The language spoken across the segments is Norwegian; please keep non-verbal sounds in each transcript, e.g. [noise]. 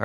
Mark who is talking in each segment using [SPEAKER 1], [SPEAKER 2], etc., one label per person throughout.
[SPEAKER 1] All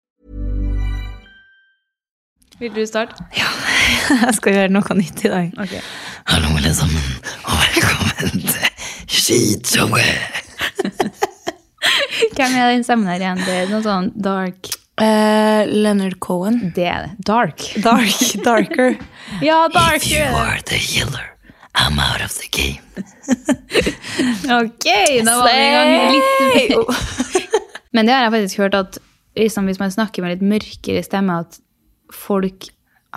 [SPEAKER 2] Vil du starte?
[SPEAKER 3] Jeg skal gjøre noe nytt i dag.
[SPEAKER 2] Ok.
[SPEAKER 4] Hallo, alle sammen, og velkommen til Skitshowet.
[SPEAKER 2] Hvem er den stemmen her igjen? Det er noe sånn dark
[SPEAKER 3] Eh, Leonard Cohen.
[SPEAKER 4] [laughs]
[SPEAKER 2] Det er det. Dark.
[SPEAKER 3] Dark, darker.
[SPEAKER 2] [laughs] Ja, dark!
[SPEAKER 4] If you are the healer, I'm out of the game.
[SPEAKER 2] Ok, da var vi i gang litt [laughs] Men det har jeg faktisk hørt at liksom, hvis man snakker med litt mørkere stemme, at folk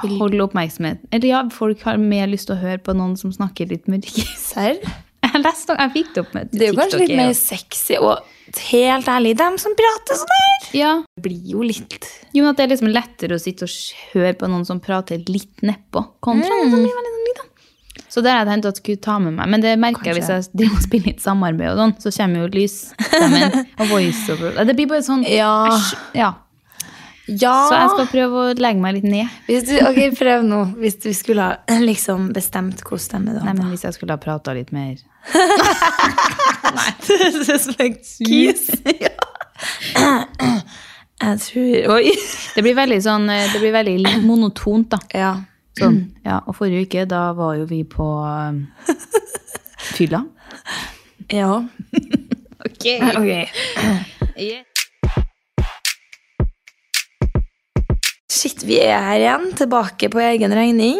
[SPEAKER 2] holder oppmerksomhet. Eller ja, folk har mer lyst til å høre på noen som snakker litt mørkere.
[SPEAKER 3] Serr?
[SPEAKER 2] [laughs] Jeg leste noe, jeg fikk det opp med
[SPEAKER 3] Det er jo kanskje litt
[SPEAKER 2] jeg,
[SPEAKER 3] mer
[SPEAKER 2] og-
[SPEAKER 3] sexy, og helt ærlig, dem som prater sånn her,
[SPEAKER 2] Ja,
[SPEAKER 3] blir jo litt
[SPEAKER 2] jo, men at det er liksom lettere å sitte og s- høre på noen som prater litt nedpå, kontra noen som blir veldig sånn litt, da. Så det har jeg tenkt at jeg skulle ta med meg. Men det merker jeg hvis jeg driver og spiller litt samarbeid og sånn, så kommer jo lysstemmen og voiceover. Det blir bare sånn,
[SPEAKER 3] Ja.
[SPEAKER 2] æsj, ja.
[SPEAKER 3] Ja!
[SPEAKER 2] Så jeg skal prøve å legge meg litt ned.
[SPEAKER 3] Hvis du, ok, prøv nå. Hvis du skulle ha liksom bestemt hvordan stemme du
[SPEAKER 2] Nei,
[SPEAKER 3] hadde.
[SPEAKER 2] men hvis jeg skulle ha prata litt mer
[SPEAKER 3] Det høres ut som en kis. Jeg tror Oi!
[SPEAKER 2] Det blir veldig sånn eh, Det blir veldig li- monotont, da.
[SPEAKER 3] Ja.
[SPEAKER 2] Sånn. Ja, og forrige uke, da var jo vi på eh, fylla.
[SPEAKER 3] Ja. [laughs] Ok. Shit, vi er her igjen, tilbake på egen regning.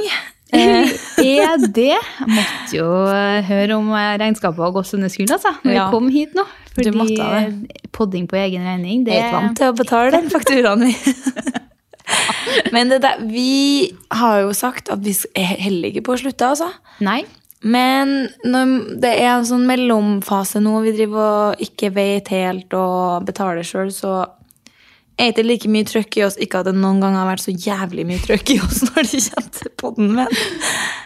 [SPEAKER 2] Eh, er det Måtte jo eh, høre om eh, regnskapet har gått under skulda, altså, når
[SPEAKER 3] Ja.
[SPEAKER 2] vi kom hit nå.
[SPEAKER 3] Du
[SPEAKER 2] Fordi
[SPEAKER 3] måtte ha
[SPEAKER 2] eh, podding på egen regning, det
[SPEAKER 3] Jeg er ikke vant til å betale den fakturaen vi. [laughs] Men det der, vi har jo sagt at vi s- er heller ikke på å slutte, altså.
[SPEAKER 2] Nei.
[SPEAKER 3] Men når det er en sånn mellomfase nå, vi driver og ikke vet helt og betaler sjøl, så er det ikke like mye trøkk i oss. Ikke at det noen gang har vært så jævlig mye trøkk i oss når det kommer til podden, men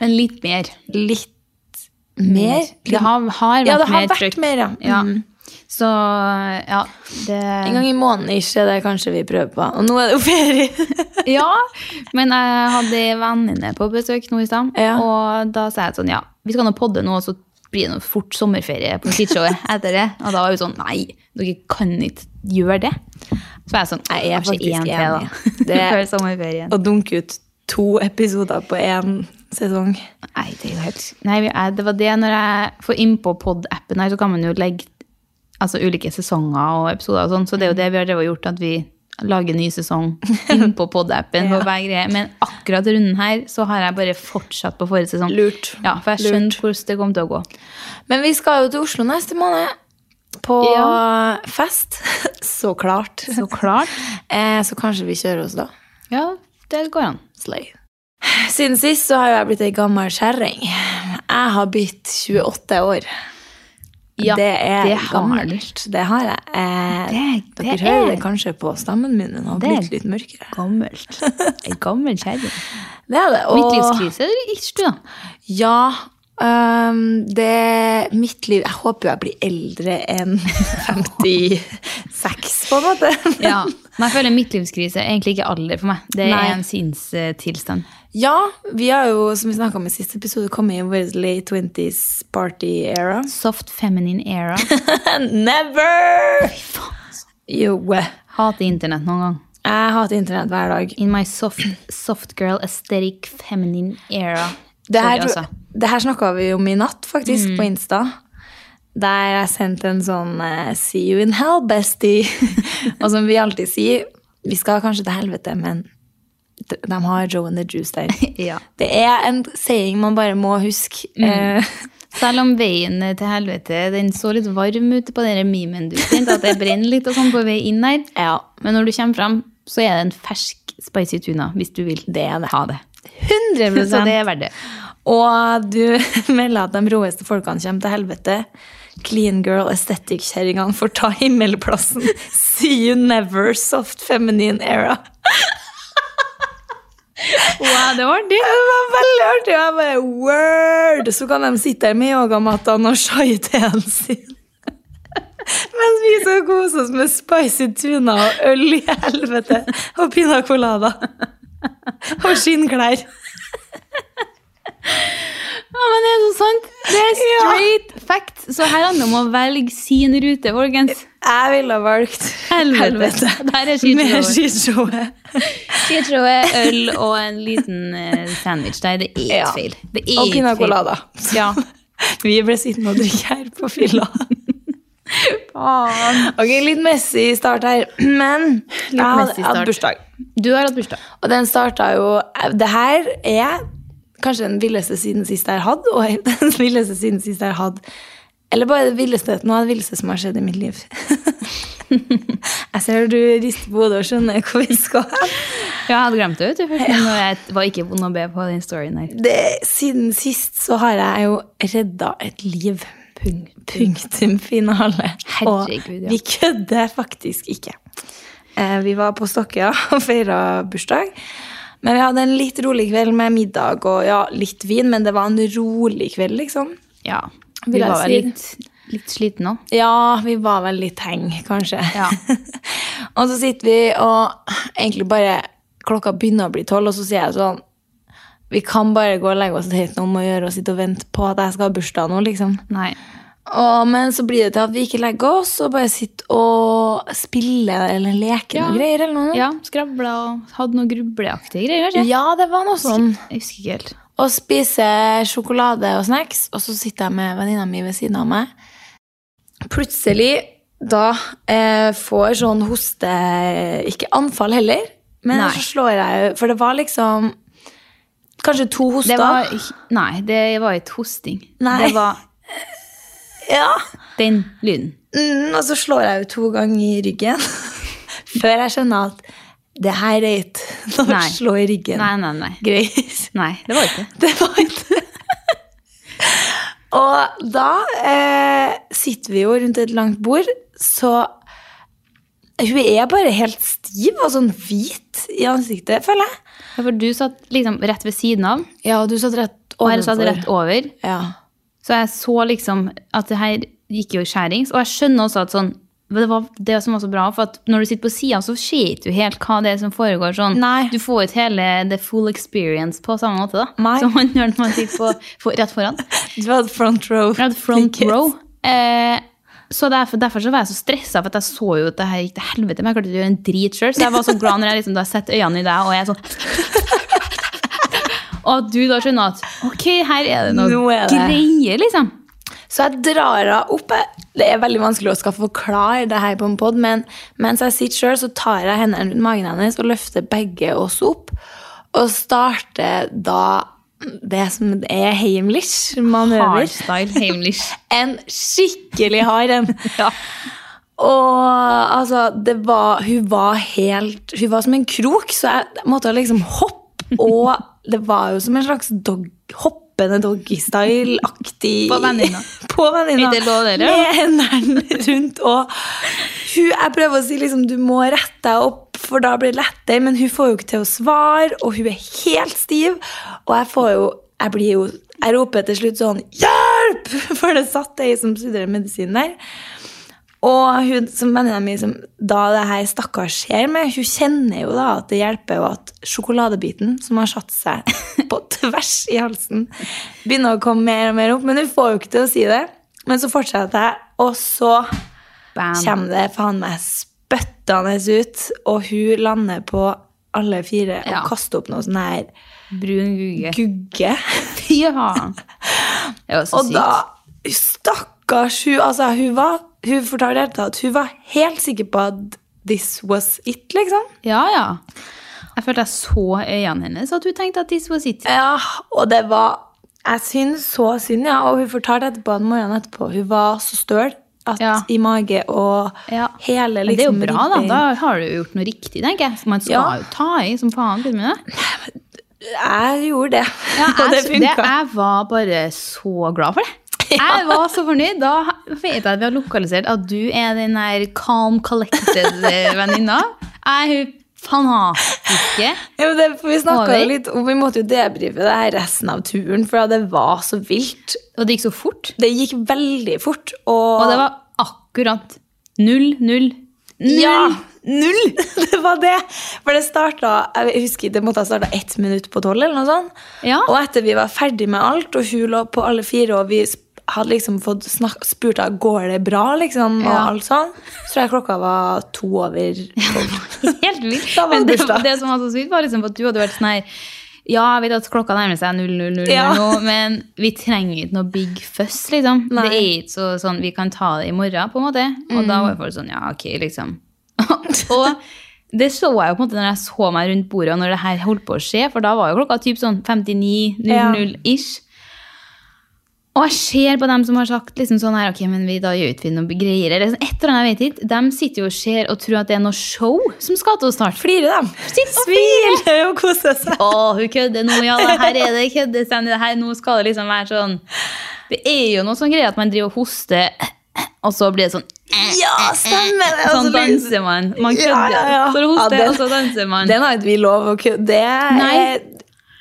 [SPEAKER 2] Men litt mer.
[SPEAKER 3] litt mer.
[SPEAKER 2] Det har, har vært
[SPEAKER 3] ja, det har
[SPEAKER 2] mer
[SPEAKER 3] vært
[SPEAKER 2] trykk.
[SPEAKER 3] mer, ja.
[SPEAKER 2] Ja.
[SPEAKER 3] Mm.
[SPEAKER 2] Så ja, det
[SPEAKER 3] En gang i måneden ikke, det er kanskje vi prøver på. Og nå er det jo ferie.
[SPEAKER 2] [laughs] Ja, men jeg hadde venninne på besøk nå i stad,
[SPEAKER 3] Ja.
[SPEAKER 2] og da sa jeg sånn, ja, vi skal nå podde nå, og så blir det nå fort sommerferie på
[SPEAKER 3] [laughs]
[SPEAKER 2] skitshowet etter det. Og da var hun sånn, nei, dere kan ikke gjøre det. Så var jeg sånn,
[SPEAKER 3] Jeg er
[SPEAKER 2] kanskje
[SPEAKER 3] faktisk
[SPEAKER 2] en til,
[SPEAKER 3] enig.
[SPEAKER 2] da. [laughs]
[SPEAKER 3] Det-
[SPEAKER 2] Før sommerferien.
[SPEAKER 3] Å dunke ut to episoder på én sesong.
[SPEAKER 2] Nei, det er jo helt... Nei, vi- jeg- det var det når jeg får inn på pod-appen her, så kan man jo legge altså, ulike sesonger og episoder og sånn, så det
[SPEAKER 3] Mm.
[SPEAKER 2] er jo det vi har drevet og gjort, at vi lager ny
[SPEAKER 3] [laughs]
[SPEAKER 2] sesong inn på pod-appen på hver greie. Men akkurat runden her, så har jeg bare fortsatt på forrige sesong.
[SPEAKER 3] Lurt.
[SPEAKER 2] Ja, for jeg skjønte hvordan det kom til å gå.
[SPEAKER 3] Men vi skal jo til Oslo neste måned. På
[SPEAKER 2] Ja.
[SPEAKER 3] fest. [laughs] Så klart.
[SPEAKER 2] Så klart.
[SPEAKER 3] Eh, så kanskje vi kjører oss da.
[SPEAKER 2] [laughs] Ja, det går an.
[SPEAKER 3] Slay. Siden sist så har jo jeg blitt ei gammel kjerring. Jeg har blitt 28 år.
[SPEAKER 2] Ja,
[SPEAKER 3] det er
[SPEAKER 2] det har du.
[SPEAKER 3] gammelt. Det har jeg. Eh,
[SPEAKER 2] Det-
[SPEAKER 3] dere
[SPEAKER 2] det
[SPEAKER 3] hører
[SPEAKER 2] er-
[SPEAKER 3] det kanskje på stemmen min. Den har
[SPEAKER 2] Det er-
[SPEAKER 3] blitt litt mørkere.
[SPEAKER 2] [laughs] Gammelt. En gammel kjærlighet.
[SPEAKER 3] Det er det.
[SPEAKER 2] Midtlivskrise, eller ikke du da?
[SPEAKER 3] Ja, Ehm, det Mitt liv Jeg håper jo jeg blir eldre enn 56, på en måte.
[SPEAKER 2] Ja. Men jeg føler midtlivskrise er egentlig ikke alder for meg. Det er
[SPEAKER 3] Nei.
[SPEAKER 2] en sinnstilstand.
[SPEAKER 3] Ja, vi har jo, som vi snakka om i siste episode, kommet i vår late 20s party era.
[SPEAKER 2] Soft feminine era.
[SPEAKER 3] [laughs] Never! Jo. Jeg
[SPEAKER 2] Hater internett noen gang.
[SPEAKER 3] hater internett hver dag.
[SPEAKER 2] In my soft, soft girl aesthetic feminine era.
[SPEAKER 3] Det her,
[SPEAKER 2] Sorry, altså.
[SPEAKER 3] det her snakka vi om i natt, faktisk, på Insta. Der jeg sendte en sånn eh, 'see you in hell, bestie'. [laughs] og som vi alltid sier, vi skal kanskje til helvete, men de, de har Joe and the Juice der.
[SPEAKER 2] Ja.
[SPEAKER 3] Det er en saying man bare må huske. Eh,
[SPEAKER 2] Selv om veien til helvete den så litt varm ut på den memen du sendte, at det brenner litt og sånn på vei inn her.
[SPEAKER 3] ja,
[SPEAKER 2] Men når du kommer fram, så er det en fersk spicy tuna, hvis du vil
[SPEAKER 3] det er det.
[SPEAKER 2] ha det.
[SPEAKER 3] 100
[SPEAKER 2] Så det er verdt det.
[SPEAKER 3] Og du [laughs] melder at de råeste folkene kommer til helvete. Clean girl aesthetic-kjerringene får ta himmelplassen. See you never, soft feminine era.
[SPEAKER 2] [laughs] Wow, det var det.
[SPEAKER 3] Det var veldig artig. og Jeg bare word! Så kan de sitte der med yogamattene og sjaie teen sin. [laughs] Mens vi skal kose oss med spicy tuna og øl i helvete og piña colada. [laughs] Og skinnklær.
[SPEAKER 2] Ja, men det er så sant. Det er
[SPEAKER 3] Ja.
[SPEAKER 2] straight fact. Så her handler det om å velge sin rute, folkens.
[SPEAKER 3] Jeg ville ha valgt
[SPEAKER 2] Helvete. Der er skishowet.
[SPEAKER 3] Med skishowet.
[SPEAKER 2] Jeg tror det er øl og en liten eh, sandwich. Nei, det er ikke
[SPEAKER 3] Ja.
[SPEAKER 2] feil. Det er
[SPEAKER 3] Og
[SPEAKER 2] ikke
[SPEAKER 3] piña
[SPEAKER 2] feil.
[SPEAKER 3] colada.
[SPEAKER 2] Ja.
[SPEAKER 3] Vi ble sittende og drikke her på fylla. Ok, litt messig start her, [clears throat] men jeg hadde,
[SPEAKER 2] messy
[SPEAKER 3] jeg hadde
[SPEAKER 2] start.
[SPEAKER 3] bursdag.
[SPEAKER 2] Du har hatt bursdag.
[SPEAKER 3] Og den starta jo eh, Det her er kanskje den villeste siden sist jeg har hatt, og [laughs] den villeste siden sist jeg har hatt. Eller bare det villeste, noe av det villeste som har skjedd i mitt liv. [laughs] jeg ser du rister på hodet og skjønner hvor vi skal.
[SPEAKER 2] Ja, jeg hadde glemt det, vet du. Først, men jeg var ikke vond å be på den storyen her.
[SPEAKER 3] Det, siden sist så har jeg jo redda et liv. Punktum finale.
[SPEAKER 2] Herregud, ja.
[SPEAKER 3] Og vi kødder faktisk ikke. Eh, Vi var på Stokkøya [laughs] og feira bursdag. Men vi hadde en litt rolig kveld med middag og ja, litt vin, men det var en rolig kveld, liksom.
[SPEAKER 2] Ja.
[SPEAKER 3] Vil
[SPEAKER 2] Vi
[SPEAKER 3] jeg
[SPEAKER 2] var vel
[SPEAKER 3] si.
[SPEAKER 2] litt, litt slitne òg.
[SPEAKER 3] Ja, vi var vel litt heng, kanskje.
[SPEAKER 2] Ja.
[SPEAKER 3] [laughs] og så sitter vi og egentlig bare Klokka begynner å bli tolv, og så sier jeg sånn Vi kan bare gå og legge oss et høyt om å gjøre og sitte og vente på at jeg skal ha bursdag nå, liksom.
[SPEAKER 2] Nei.
[SPEAKER 3] Og, men så blir det til at vi ikke legger oss og bare sitter og spiller eller leker noe greier eller noe.
[SPEAKER 2] Ja, Skravla og hadde noe grubleaktige greier. kanskje?
[SPEAKER 3] Ja, det var noe sånn.
[SPEAKER 2] Jeg husker ikke helt.
[SPEAKER 3] Og spiser sjokolade og snacks, og så sitter jeg med venninna mi ved siden av meg. Plutselig da eh, får jeg sånn hoste Ikke anfall heller, men
[SPEAKER 2] Nei.
[SPEAKER 3] så slår jeg For det var liksom kanskje to
[SPEAKER 2] Det
[SPEAKER 3] hoster.
[SPEAKER 2] var, nei, det var et hosting.
[SPEAKER 3] Nei.
[SPEAKER 2] Det var
[SPEAKER 3] ja.
[SPEAKER 2] den lyden.
[SPEAKER 3] mm, Og så slår jeg jo to ganger i ryggen [laughs] før jeg skjønner at det her er ikke noe
[SPEAKER 2] Nei.
[SPEAKER 3] å slå i ryggen.
[SPEAKER 2] Nei, nei, nei.
[SPEAKER 3] Greier.
[SPEAKER 2] Nei, det var ikke det.
[SPEAKER 3] Det var ikke det. Og da eh, sitter vi jo rundt et langt bord, så Hun er bare helt stiv og sånn hvit i ansiktet, føler jeg.
[SPEAKER 2] Ja, For du satt liksom rett ved siden av,
[SPEAKER 3] Ja, og du satt rett
[SPEAKER 2] og jeg satt rett over.
[SPEAKER 3] Ja.
[SPEAKER 2] Så jeg så liksom at det her gikk jo skjærings. Og jeg skjønner også at sånn men det var det som var så bra, for at når du sitter på sida, så ser ikke du helt hva det er som foregår. sånn.
[SPEAKER 3] Nei.
[SPEAKER 2] Du får ikke hele the full experience på samme måte da.
[SPEAKER 3] Nei.
[SPEAKER 2] som man gjør når man sitter på, for, rett foran.
[SPEAKER 3] Du hadde front row.
[SPEAKER 2] Rett front
[SPEAKER 3] ticket.
[SPEAKER 2] row. Eh, så derfor, derfor så var jeg så stressa, for at jeg så jo at det her gikk til helvete. Men jeg klarte ikke å gjøre en drit sjøl, så jeg var så glad når jeg liksom da setter øynene i deg, og jeg er sånn [laughs] Og at du da skjønner at ok, her er det noe
[SPEAKER 3] Nå er det-
[SPEAKER 2] greier, liksom.
[SPEAKER 3] Så jeg drar henne opp. Jeg- Det er veldig vanskelig å skal forklare det her på en pod, men mens jeg sitter sjøl, så tar jeg hendene rundt magen hennes og løfter begge oss opp. Og starter da det som er Heimlich-manøver.
[SPEAKER 2] Hardstyle
[SPEAKER 3] [laughs]
[SPEAKER 2] Heimlich.
[SPEAKER 3] En skikkelig hard en.
[SPEAKER 2] Ja.
[SPEAKER 3] Og altså, det var Hun var helt Hun var som en krok, så jeg måtte liksom hoppe. Og
[SPEAKER 2] [laughs]
[SPEAKER 3] det var jo som en slags dog, hoppende doggystyle-aktig
[SPEAKER 2] På venninna.
[SPEAKER 3] [laughs] På venninna.
[SPEAKER 2] Ikke lov, dere.
[SPEAKER 3] Med hendene rundt og hun, Jeg prøver å si liksom du må rette deg opp, for da blir det lettere, men hun får jo ikke til å svare, og hun er helt stiv. Og jeg får jo Jeg blir jo Jeg roper til slutt sånn 'Hjelp!' [laughs] For det satt ei som studerer medisin der. Og hun som venninna mi som da det her stakkars skjer med, hun kjenner jo da at det hjelper jo at sjokoladebiten som har satt seg [laughs] på tvers i halsen, begynner å komme mer og mer opp. Men hun får jo ikke til å si det. Men så fortsetter jeg, og så
[SPEAKER 2] Bam.
[SPEAKER 3] kommer det faen meg spyttende ut, og hun lander på alle fire og
[SPEAKER 2] Ja.
[SPEAKER 3] kaster opp noe sånn her
[SPEAKER 2] Brun gugge. [laughs]
[SPEAKER 3] gugge.
[SPEAKER 2] Fy faen. Det var så
[SPEAKER 3] Og
[SPEAKER 2] sykt.
[SPEAKER 3] da Stakkars hun, altså, hun var Hun fortalte helt at hun var helt sikker på at this was it, liksom.
[SPEAKER 2] Ja, ja. Jeg følte jeg så øynene hennes, at hun tenkte at this was it.
[SPEAKER 3] Ja, og det var Jeg syns så synd, ja. Og hun fortalte etterpå at morgenen etterpå hun var så støl at
[SPEAKER 2] Ja.
[SPEAKER 3] i mage og
[SPEAKER 2] Ja.
[SPEAKER 3] hele
[SPEAKER 2] Men det er
[SPEAKER 3] liksom
[SPEAKER 2] jo bra, da.
[SPEAKER 3] ribbein-
[SPEAKER 2] Da har du jo gjort noe riktig, tenker jeg. Man skal
[SPEAKER 3] Ja.
[SPEAKER 2] jo ta i som faen. Til med det.
[SPEAKER 3] Jeg gjorde det.
[SPEAKER 2] Ja,
[SPEAKER 3] [laughs]
[SPEAKER 2] [laughs]
[SPEAKER 3] og det
[SPEAKER 2] jeg, det,
[SPEAKER 3] funka.
[SPEAKER 2] jeg var bare så glad [laughs] for det. Jeg var så fornøyd. Da vet jeg at vi har lokalisert at du er den der calm collected-venninna. Jeg er hun fanatiske.
[SPEAKER 3] Ja, men det- for vi snakka
[SPEAKER 2] Over.
[SPEAKER 3] jo litt om Vi måtte jo debrife det her resten av turen, for det var så vilt.
[SPEAKER 2] Og det gikk så fort.
[SPEAKER 3] Det gikk veldig fort, og
[SPEAKER 2] Og det var akkurat null, null, null.
[SPEAKER 3] Ja! Null! [laughs] Det var det. For det starta Jeg husker det måtte ha starta ett minutt på tolv. eller noe sånt.
[SPEAKER 2] Ja.
[SPEAKER 3] Og etter vi var ferdig med alt, og hun lå på alle fire, og vi sp- hadde liksom fått snak spurt henne går det bra, liksom, og
[SPEAKER 2] Ja.
[SPEAKER 3] alt sånn, så tror jeg klokka var to over tolv.
[SPEAKER 2] [laughs] Helt vilt.
[SPEAKER 3] Da var
[SPEAKER 2] Men
[SPEAKER 3] det
[SPEAKER 2] det,
[SPEAKER 3] bursdag.
[SPEAKER 2] det som var så sykt, var liksom at du hadde vært sånn her Ja, jeg vet at klokka nærmer seg 0000
[SPEAKER 3] Ja.
[SPEAKER 2] nå, men vi trenger ikke noe big fuss, liksom.
[SPEAKER 3] Nei. Mm.
[SPEAKER 2] Det er ikke så, sånn Vi kan ta det i morgen, på en måte. Og da var folk sånn Ja, ok, liksom. [laughs] og det så jeg jo på en måte når jeg så meg rundt bordet, og når det her holdt på å skje, for da var jo klokka typ sånn 59.00-ish. Og jeg ser på dem som har sagt liksom sånn her, ok, men vi, da gjør ikke vi noe greier. Eller sånn, et eller annet, jeg vet ikke. De sitter jo og ser og tror at det er noe show som skal til å starte.
[SPEAKER 3] Flirer dem.
[SPEAKER 2] Sitt og
[SPEAKER 3] Smiler og koser seg.
[SPEAKER 2] Å, hun kødder nå, ja, det her er det køddestemning. Det her nå skal det liksom være sånn. Det er jo noe sånn greier at man driver og hoster, og så blir det sånn,
[SPEAKER 3] Ja, stemmer det!
[SPEAKER 2] sånn
[SPEAKER 3] Og så blir-
[SPEAKER 2] danser man. Man kødder,
[SPEAKER 3] Ja, ja, ja.
[SPEAKER 2] for å hoste,
[SPEAKER 3] Ja, den-
[SPEAKER 2] og så danser man.
[SPEAKER 3] Den har ikke vi lov å kødde Det
[SPEAKER 2] Nei.
[SPEAKER 3] er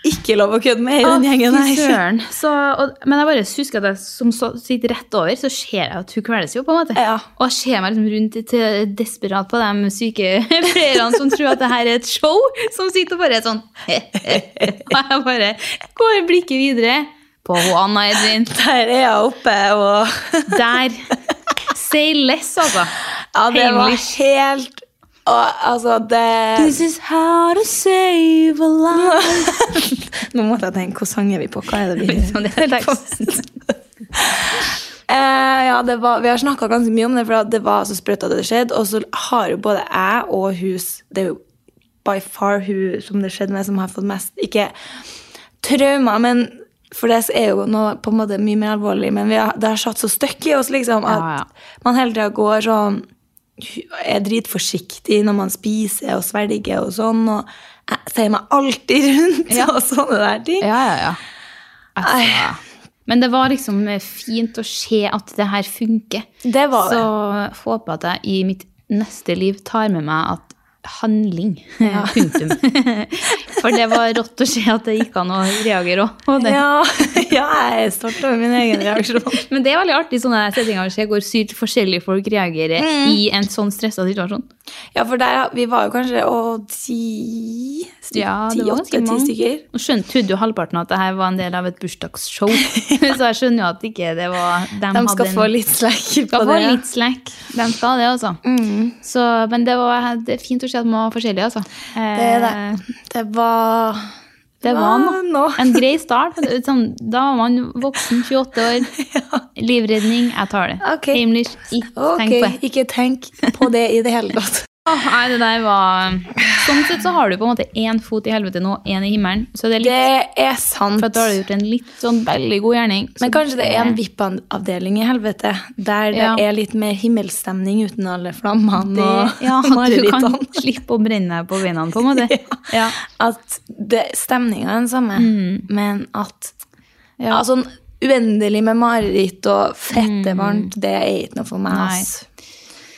[SPEAKER 3] ikke lov å kødde med i
[SPEAKER 2] Å,
[SPEAKER 3] den gjengen
[SPEAKER 2] fy
[SPEAKER 3] her.
[SPEAKER 2] søren. Så, og, men jeg bare husker at jeg som så, sitter rett over, så ser jeg at hun kveles jo, på en måte.
[SPEAKER 3] Ja.
[SPEAKER 2] Og jeg ser meg liksom rundt til, desperat på de sykepleierne som tror at det her er et show, som sitter og bare er sånn [laughs] Og jeg bare går blikket videre på hun Anna Edvin.
[SPEAKER 3] [laughs] Der er jeg oppe og
[SPEAKER 2] Der. Say less, altså.
[SPEAKER 3] [laughs] Ja, det var
[SPEAKER 2] Heimlich.
[SPEAKER 3] helt og, Altså, det This is how to save a life. [laughs] Nå måtte jeg tenke, hva sang er vi på? Hva er det
[SPEAKER 2] [laughs]
[SPEAKER 3] vi
[SPEAKER 2] Liksom, det er
[SPEAKER 3] Eh, ja, det var, Vi har snakka ganske mye om det, for at det var så sprøtt at det skjedde. Og så har jo både jeg og hus Det er jo by far hun som det skjedde med, som har fått mest Ikke traumer, men for det er jo noe på en måte mye mer alvorlig. Men vi har, det har satt så støkk i oss liksom, at
[SPEAKER 2] Ja, ja.
[SPEAKER 3] man hele tida går sånn Er dritforsiktig når man spiser og svelger og sånn. Og jeg ser meg alltid rundt og sånne der ting.
[SPEAKER 2] Ja, ja, ja. Altså. Men det var liksom fint å se at det her funker.
[SPEAKER 3] Det var det.
[SPEAKER 2] Så håper jeg at jeg i mitt neste liv tar med meg at handling. [laughs] Punktum. For det var rått å se at det gikk an å reagere òg. på det.
[SPEAKER 3] Ja, [laughs] ja, jeg er stolt over min egen reaksjon.
[SPEAKER 2] Men det er veldig artig sånne settinger skjer, hvor sykt forskjellige folk reagerer
[SPEAKER 3] Mm.
[SPEAKER 2] i en sånn stressa situasjon.
[SPEAKER 3] Ja, for der, vi var jo kanskje å, ti stykker.
[SPEAKER 2] Ja, det
[SPEAKER 3] ti,
[SPEAKER 2] var ganske
[SPEAKER 3] åtte, ti
[SPEAKER 2] mange.
[SPEAKER 3] stykker.
[SPEAKER 2] Nå skjønte trodde jo halvparten at det her var en del av et
[SPEAKER 3] [laughs]
[SPEAKER 2] bursdagsshow. [laughs] Så jeg skjønner jo at ikke det var dem
[SPEAKER 3] De
[SPEAKER 2] hadde
[SPEAKER 3] skal
[SPEAKER 2] en-
[SPEAKER 3] få litt slack på
[SPEAKER 2] skal
[SPEAKER 3] det. Mm.
[SPEAKER 2] få litt slack. De skal det, altså. Så, men det var det er fint å se at man var forskjellig, altså. Eh,
[SPEAKER 3] Det, er det. det var
[SPEAKER 2] det var noe.
[SPEAKER 3] nå.
[SPEAKER 2] En grei start. Sånn, da var man voksen, 28
[SPEAKER 3] [laughs]
[SPEAKER 2] år. Livredning, jeg tar det.
[SPEAKER 3] Ok.
[SPEAKER 2] Heimlich, ikke
[SPEAKER 3] Ok,
[SPEAKER 2] tenk på det.
[SPEAKER 3] ikke tenk på det i det
[SPEAKER 2] [laughs]
[SPEAKER 3] hele tatt.
[SPEAKER 2] Åh, nei, det der var Sånn sett så har du på en måte én fot i helvete nå, én i himmelen. Så det er litt
[SPEAKER 3] Det er sant.
[SPEAKER 2] For at da har du gjort en litt sånn veldig god gjerning. Så
[SPEAKER 3] Men kanskje det er en VIP-avdeling i helvete, der det
[SPEAKER 2] Ja.
[SPEAKER 3] er litt mer himmelstemning uten alle flammene og
[SPEAKER 2] det, [laughs] ja, at du kan
[SPEAKER 3] marerittene.
[SPEAKER 2] slippe å brenne deg på beina, på en måte. [laughs] Ja.
[SPEAKER 3] At det- stemninga er den samme,
[SPEAKER 2] Mm.
[SPEAKER 3] men at
[SPEAKER 2] Ja.
[SPEAKER 3] altså, uendelig med mareritt og fette varmt, det er ikke noe for meg.
[SPEAKER 2] Mm. Nei. [laughs]
[SPEAKER 3] ass.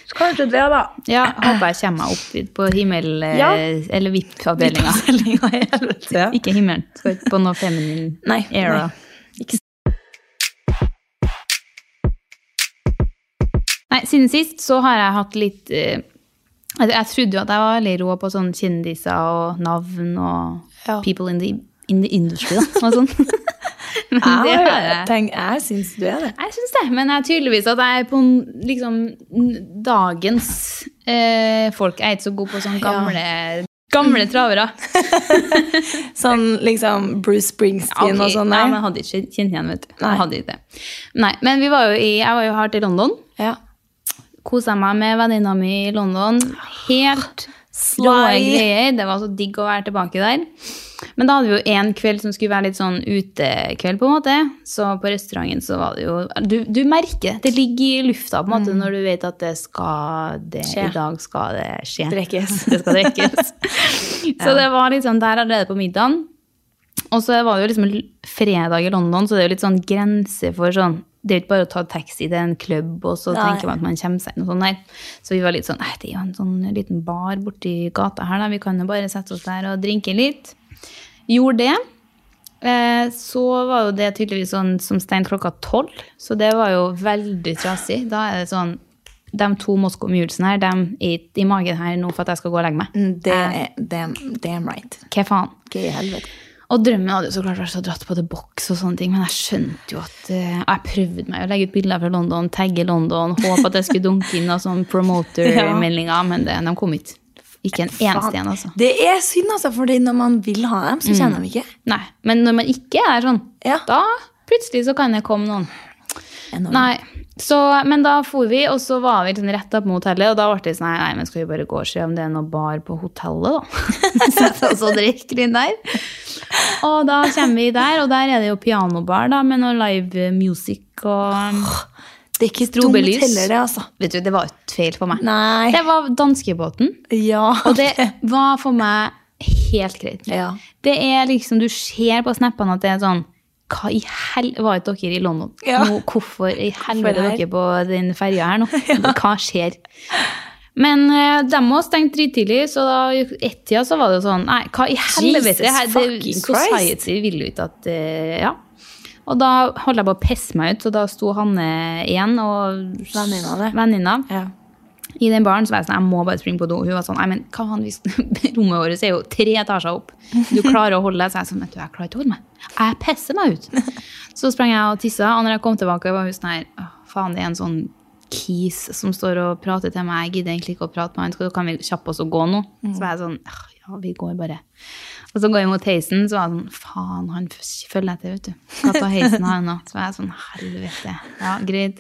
[SPEAKER 3] Så kanskje det, da.
[SPEAKER 2] ja, håper jeg kommer meg opp dit på [laughs] himmel... eh,
[SPEAKER 3] Ja.
[SPEAKER 2] Eller VIP-avdelinga.
[SPEAKER 3] Sellinga i helvete.
[SPEAKER 2] [laughs] Ikke himmelen. Skal ikke på noe feminin
[SPEAKER 3] Nei,
[SPEAKER 2] era.
[SPEAKER 3] nei. Ikke
[SPEAKER 2] Nei, siden sist så har jeg hatt litt eh, altså, Jeg trodde jo at jeg var veldig rå på sånn kjendiser og navn og
[SPEAKER 3] Ja.
[SPEAKER 2] people in the, in the industry da, og sånn. [laughs] Men det har jeg.
[SPEAKER 3] Ah. Tenk, jeg syns du er det.
[SPEAKER 2] Jeg syns det, men jeg er tydeligvis at jeg er på n- liksom, n- dagens eh, folk. Jeg er ikke så god på sånne gamle, gamle travere.
[SPEAKER 3] Sånn liksom Bruce Springsteen og
[SPEAKER 2] Ok,
[SPEAKER 3] sånn.
[SPEAKER 2] ja,
[SPEAKER 3] der.
[SPEAKER 2] men jeg hadde ikke kjent igjen, vet du.
[SPEAKER 3] Nei.
[SPEAKER 2] Jeg hadde ikke det. Nei, men vi var jo i, jeg var jo hardt i London.
[SPEAKER 3] Ja.
[SPEAKER 2] Kosa meg med venninna mi i London. Helt
[SPEAKER 3] Sly.
[SPEAKER 2] rå greier. Det var så digg å være tilbake der. Men da hadde vi jo en kveld som skulle være litt sånn utekveld, på en måte. Så på restauranten så var det jo Du, du merker det. Det ligger i lufta på en måte når du vet at det skal det,
[SPEAKER 3] Skje.
[SPEAKER 2] I dag skal det skje.
[SPEAKER 3] Drikkes.
[SPEAKER 2] [laughs] Det skal drikkes. så det var litt sånn der allerede på middagen. Og så var det jo liksom l- fredag i London, så det er jo litt sånn grense for sånn Det er jo ikke bare å ta taxi til en klubb, og så
[SPEAKER 3] Nei.
[SPEAKER 2] tenker man at man kommer seg inn og sånn der. Så vi var litt sånn «Eh, Det er jo en sånn liten bar borti gata her, da. Vi kan jo bare sette oss der og drinke litt. Gjorde det. Eh, Så var jo det tydeligvis sånn som stein klokka tolv, så det var jo veldig trasig. Da er det sånn De to Moskva-omgivelsene her, de er ikke i magen her nå for at jeg skal gå og legge meg.
[SPEAKER 3] Det er damn, damn right.
[SPEAKER 2] Hva faen?
[SPEAKER 3] Gøy i helvete.
[SPEAKER 2] Og drømmen hadde jo så klart vært så dratt på The Box og sånne ting, men jeg skjønte jo at eh, Jeg prøvde meg å legge ut bilder fra London, tagge London, håpe at jeg skulle dunke inn noen sånn promoter-meldinger, men det, de kom ikke. Ikke en eneste en, altså.
[SPEAKER 3] Det er Mm. synd, altså, fordi når man vil ha dem, så kjenner de ikke.
[SPEAKER 2] Nei, Men når man ikke er sånn,
[SPEAKER 3] Ja.
[SPEAKER 2] da plutselig så kan det komme noen.
[SPEAKER 3] Enormt.
[SPEAKER 2] Nei, så, Men da for vi, og så var vi liksom rett opp mot hotellet. Og da ble det sånn Nei, nei, men skal vi bare gå og se om det er noe bar på hotellet, da? [laughs] Sette oss og drikke litt der. Og da kommer vi der, og der er det jo pianobar da, med noe live music og
[SPEAKER 3] Det er ikke dumt
[SPEAKER 2] Strobelys.
[SPEAKER 3] heller, det, altså.
[SPEAKER 2] Vet du, det var et feil for meg.
[SPEAKER 3] Nei.
[SPEAKER 2] Det var danskebåten,
[SPEAKER 3] Ja.
[SPEAKER 2] [laughs] og
[SPEAKER 3] [laughs]
[SPEAKER 2] det var for meg helt greit.
[SPEAKER 3] Ja.
[SPEAKER 2] Det er liksom, Du ser på snappene at det er sånn Hva i hel... Var ikke dere i London?
[SPEAKER 3] Ja.
[SPEAKER 2] Nå, hvorfor i
[SPEAKER 3] er
[SPEAKER 2] helvete
[SPEAKER 3] det
[SPEAKER 2] er
[SPEAKER 3] her?
[SPEAKER 2] dere på den ferja
[SPEAKER 3] [laughs]
[SPEAKER 2] her nå? Hva skjer? Men eh, de må ha stengt drittidlig, så da i ett-tida så var det jo sånn Nei, hva i helvete? Det her, det,
[SPEAKER 3] fucking Christ.
[SPEAKER 2] society vil jo ikke at eh, Ja. Og da holdt jeg på å pisse meg ut, så da sto Hanne igjen og
[SPEAKER 3] Venninna di.
[SPEAKER 2] venninna
[SPEAKER 3] Ja.
[SPEAKER 2] i den baren så var jeg sånn, jeg må bare springe på do. Hun var sånn, nei, men hva faen, hvis- [laughs] rommet vårt er jo tre etasjer opp. Du klarer å holde deg. Så jeg sånn, vet du, jeg klarer ikke å holde meg. Jeg pisser meg ut. Så sprang jeg og tisset, og når jeg kom tilbake, var hun sånn her, «Åh, faen, det er en sånn kis som står og prater til meg. Jeg gidder egentlig ikke å prate med han, så kan vi kjappe oss og gå nå? Så var jeg sånn, «Åh, ja, vi går bare. Og så går jeg mot heisen, så var jeg sånn, faen, han følger etter, vet du. Skal ta heisen her nå. Så var jeg sånn, helvete. Ja, greit.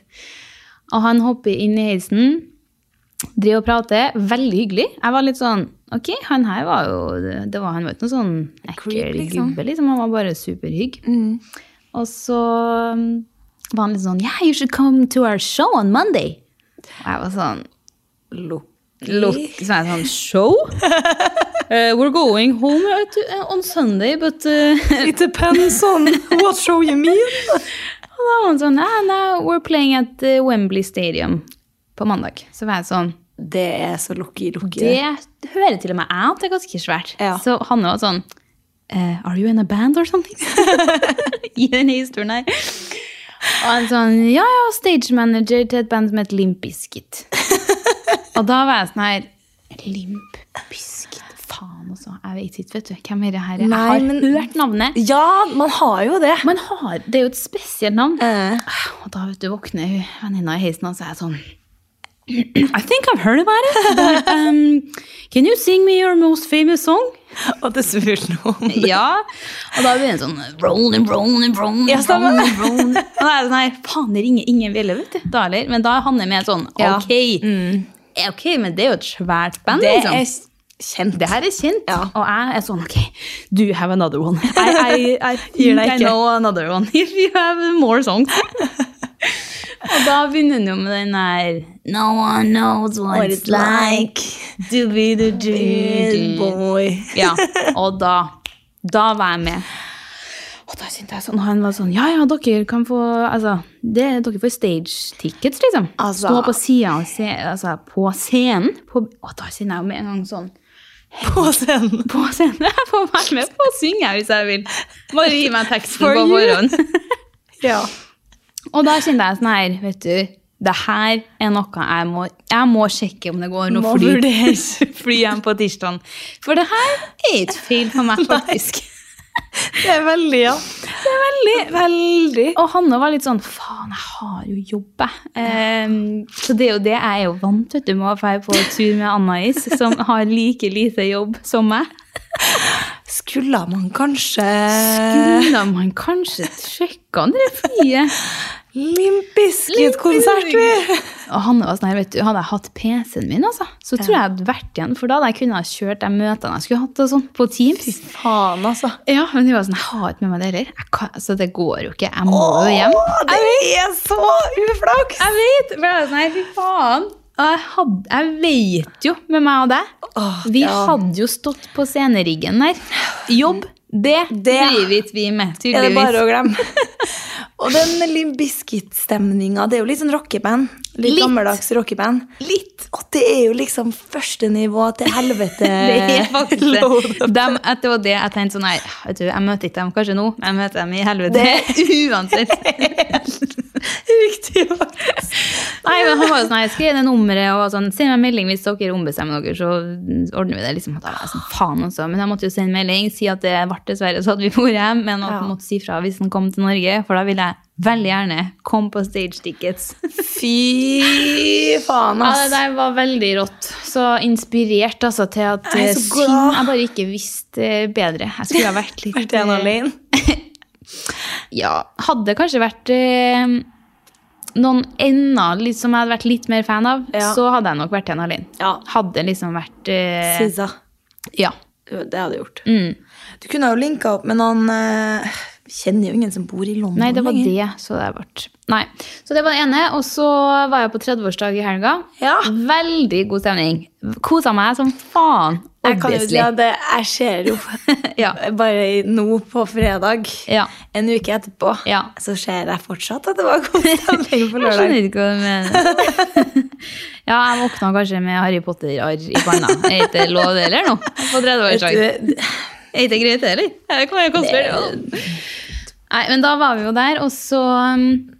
[SPEAKER 2] Og han hopper inn i heisen, driver og prater. Veldig hyggelig. Jeg var litt sånn Ok, han her var jo det var, Han var ikke noe sånn ekkel
[SPEAKER 3] Creep, liksom.
[SPEAKER 2] gubbe, liksom. Han var bare superhygg. Og så mm, var han litt sånn Yeah, you should come to our show on Monday. Og jeg var sånn Look, så er det sånn
[SPEAKER 3] [laughs]
[SPEAKER 2] Show? Eh, we're going home at, on Sunday, but
[SPEAKER 3] [laughs]
[SPEAKER 2] eh,
[SPEAKER 3] It depends on what show you [laughs] mean.
[SPEAKER 2] [laughs] Og da var han sånn Nei, nei, we're playing at eh, Wembley Stadium på mandag. Så var jeg sånn
[SPEAKER 3] Det er så lucky, lucky.
[SPEAKER 2] Det hører til og med jeg at det er ganske svært.
[SPEAKER 3] Ja.
[SPEAKER 2] Så han var sånn eh, Are you in a band or something? [laughs] I den historien her. Og han sånn Ja, ja, stage manager til et band som het Limp
[SPEAKER 3] [laughs]
[SPEAKER 2] Bizkit. og da var jeg sånn her Limp Bizkit? Faen også. Jeg vet ikke, vet du. Hvem er det her?
[SPEAKER 3] Nei,
[SPEAKER 2] jeg har
[SPEAKER 3] men-
[SPEAKER 2] hørt navnet.
[SPEAKER 3] Ja, man har jo det.
[SPEAKER 2] Man har, det er jo et spesielt navn.
[SPEAKER 3] Eh.
[SPEAKER 2] Og da vet du, våkner hun venninna i heisen, og så er jeg sånn I think I've heard about it. But, um, can you sing me your most famous song?
[SPEAKER 3] [laughs] Og det spør
[SPEAKER 2] [laughs]
[SPEAKER 3] noen.
[SPEAKER 2] Ja. Og da blir det sånn rolling, rolling, rolling,
[SPEAKER 3] Ja, stemmer.
[SPEAKER 2] rolling, rolling. Og da er det sånn her, faen, det ringer ingen bjelle, vet du. Da heller. Men da er Hanne med sånn,
[SPEAKER 3] Ja.
[SPEAKER 2] ok, eh, ok, men det er jo et svært band,
[SPEAKER 3] Det
[SPEAKER 2] liksom.
[SPEAKER 3] er kjent.
[SPEAKER 2] Det her er kjent.
[SPEAKER 3] Ja.
[SPEAKER 2] Og jeg er sånn, ok, do you have another one? I, [laughs] I, I
[SPEAKER 3] Gir
[SPEAKER 2] think
[SPEAKER 3] deg
[SPEAKER 2] I
[SPEAKER 3] ikke.
[SPEAKER 2] know another one, [laughs] if you have more songs. Og da begynner hun jo med den der No one knows what, it's like to be the [laughs]
[SPEAKER 3] Good
[SPEAKER 2] dream.
[SPEAKER 3] boy.
[SPEAKER 2] Ja, og da, da var jeg med. Og da syntes jeg sånn, og han var sånn, ja, ja, dere kan få, altså, det, dere får stage tickets, liksom.
[SPEAKER 3] Altså-
[SPEAKER 2] Stå på siden, og se, altså, på scenen. På, og da kjenner jeg jo med en gang sånn,
[SPEAKER 3] På scenen.
[SPEAKER 2] på scenen, [laughs] jeg får være med på å synge hvis jeg vil. Bare gi meg teksten
[SPEAKER 3] For
[SPEAKER 2] på
[SPEAKER 3] you.
[SPEAKER 2] forhånd.
[SPEAKER 3] Ja.
[SPEAKER 2] Og da kjenner jeg sånn her, vet du, det her er noe jeg må, jeg må sjekke om det går nå,
[SPEAKER 3] Må
[SPEAKER 2] fordi,
[SPEAKER 3] vurderes.
[SPEAKER 2] [laughs] fly hjem på tirsdagen. For det her er ikke feil for
[SPEAKER 3] [laughs]
[SPEAKER 2] meg, faktisk.
[SPEAKER 3] Det er veldig, ja. Det er veldig, veldig.
[SPEAKER 2] Og Hanne var litt sånn Faen, jeg har jo jobb, jeg. Ehm, så det er jo det jeg er jo vant vet du, med å dra på tur med Anna-Is, som har like lite jobb som meg.
[SPEAKER 3] Skulle man kanskje Eh,
[SPEAKER 2] Kunne man kanskje sjekka om det flyet?
[SPEAKER 3] Limp Bizkit-konsert, vi!
[SPEAKER 2] Og Hanne var sånn her, vet du, Hadde jeg hatt PC-en min, altså, så tror jeg jeg hadde vært igjen. For da hadde jeg kunnet ha kjørt de møtene jeg skulle hatt og sånn, på Teams.
[SPEAKER 3] Faen, altså.
[SPEAKER 2] Ja, Men de var sånn, jeg har ikke med meg det heller. Jeg kan- Altså, det går jo ikke. Jeg må jo hjem.
[SPEAKER 3] Å, det er så uflaks!
[SPEAKER 2] Jeg vet! For jeg var sånn her, fy faen. Og jeg, hadde, jeg vet jo med meg og deg. vi hadde jo stått på sceneriggen der. Jobb, det,
[SPEAKER 3] Det-
[SPEAKER 2] driver ikke vi med,
[SPEAKER 3] er det
[SPEAKER 2] tydeligvis.
[SPEAKER 3] bare å glemme. [laughs] Og den Limp Bizkit-stemninga, det er jo litt sånn rockeband. Litt,
[SPEAKER 2] Litt.
[SPEAKER 3] gammeldags rockeband. Litt. Og det er jo liksom første nivå til [laughs] helvete.
[SPEAKER 2] Det er faktisk
[SPEAKER 3] [laughs] Load
[SPEAKER 2] det.
[SPEAKER 3] Eh, up.
[SPEAKER 2] Dem, at det var det jeg tenkte sånn Nei, vet du, jeg møter ikke dem kanskje nå, men jeg møter dem i helvete [laughs]
[SPEAKER 3] [laughs]
[SPEAKER 2] uansett.
[SPEAKER 3] Riktig, faktisk.
[SPEAKER 2] Nei, men han var jo sånn Nei, skriv det nummeret og sånn Send meg en melding hvis dere ombestemmer dere, så ordner vi det. liksom at jeg var sånn, faen også. Men jeg måtte jo sende melding, si at det ble dessverre så at vi for hjem, men at
[SPEAKER 3] Ja.
[SPEAKER 2] han måtte si fra hvis han kom til Norge, for da ville jeg veldig gjerne komme på stage tickets.
[SPEAKER 3] Fy faen,
[SPEAKER 2] Ja,
[SPEAKER 3] ass.
[SPEAKER 2] det der var veldig rått. Så inspirert altså til at
[SPEAKER 3] Jeg er
[SPEAKER 2] eh,
[SPEAKER 3] så glad.
[SPEAKER 2] synd jeg bare ikke visste eh, bedre. Jeg skulle ha vært litt
[SPEAKER 3] [laughs] Vært igjen
[SPEAKER 2] eh,
[SPEAKER 3] alene.
[SPEAKER 2] Ja, hadde kanskje vært eh, noen enda litt som jeg hadde vært litt mer fan av,
[SPEAKER 3] Ja.
[SPEAKER 2] så hadde jeg nok vært en alene.
[SPEAKER 3] Ja.
[SPEAKER 2] Hadde liksom vært eh,
[SPEAKER 3] Sizza.
[SPEAKER 2] Ja.
[SPEAKER 3] Det hadde jeg gjort. Mm. Du kunne jo linka opp med noen eh, Kjenner jo ingen som bor i London
[SPEAKER 2] Nei, det var
[SPEAKER 3] lenger.
[SPEAKER 2] det. Så det ble. Nei. Så det var det ene. Og så var jeg på 30-årsdag i helga.
[SPEAKER 3] Ja.
[SPEAKER 2] Veldig god stemning. Kosa meg som faen.
[SPEAKER 3] Jeg kan jo si
[SPEAKER 2] obviously.
[SPEAKER 3] at det, jeg ser jo
[SPEAKER 2] [laughs] Ja.
[SPEAKER 3] bare i- nå på fredag,
[SPEAKER 2] Ja.
[SPEAKER 3] en uke etterpå,
[SPEAKER 2] Ja.
[SPEAKER 3] så ser jeg fortsatt at [laughs] det var god stemning på
[SPEAKER 2] [laughs] Jeg skjønner
[SPEAKER 3] lørdag.
[SPEAKER 2] ikke hva du mener. [laughs] ja, jeg våkna kanskje med Harry Potter-arr i panna. Er ikke det lov, det heller, nå? På 30-årsdag.
[SPEAKER 3] Vet du,
[SPEAKER 2] Er ikke det greit, det heller? Jeg kan være konspirert, ja. Nei, men da var vi jo der, og så um,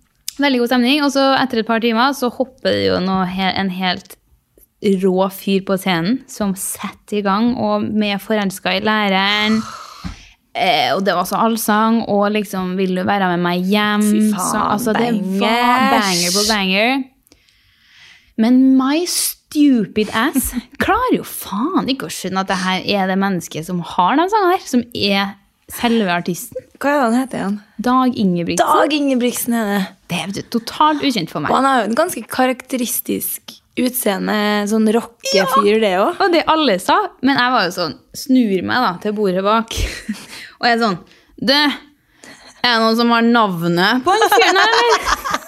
[SPEAKER 2] Veldig god stemning. Og så etter et par timer så hopper det jo noe, he- en helt rå fyr på scenen som setter i gang, og med forelska i læreren. Eh, og det var så allsang, og liksom 'Vil du være med meg hjem?'
[SPEAKER 3] Fy faen,
[SPEAKER 2] så, altså, det var
[SPEAKER 3] bangers.
[SPEAKER 2] banger på banger. Men my stupid ass [laughs] klarer jo faen ikke å skjønne at det her er det mennesket som har de sangene der, som er selve artisten.
[SPEAKER 3] Hva er det han heter igjen?
[SPEAKER 2] Dag Ingebrigtsen.
[SPEAKER 3] Dag Ingebrigtsen er det.
[SPEAKER 2] Det er jo totalt ukjent for meg.
[SPEAKER 3] Og han har jo en ganske karakteristisk utseende, sånn rockefyr, det òg.
[SPEAKER 2] Og det alle sa, men jeg var jo sånn, snur meg da til bordet bak, [laughs] og jeg er sånn, du, er det noen som har navnet på en fyren her, eller? [laughs]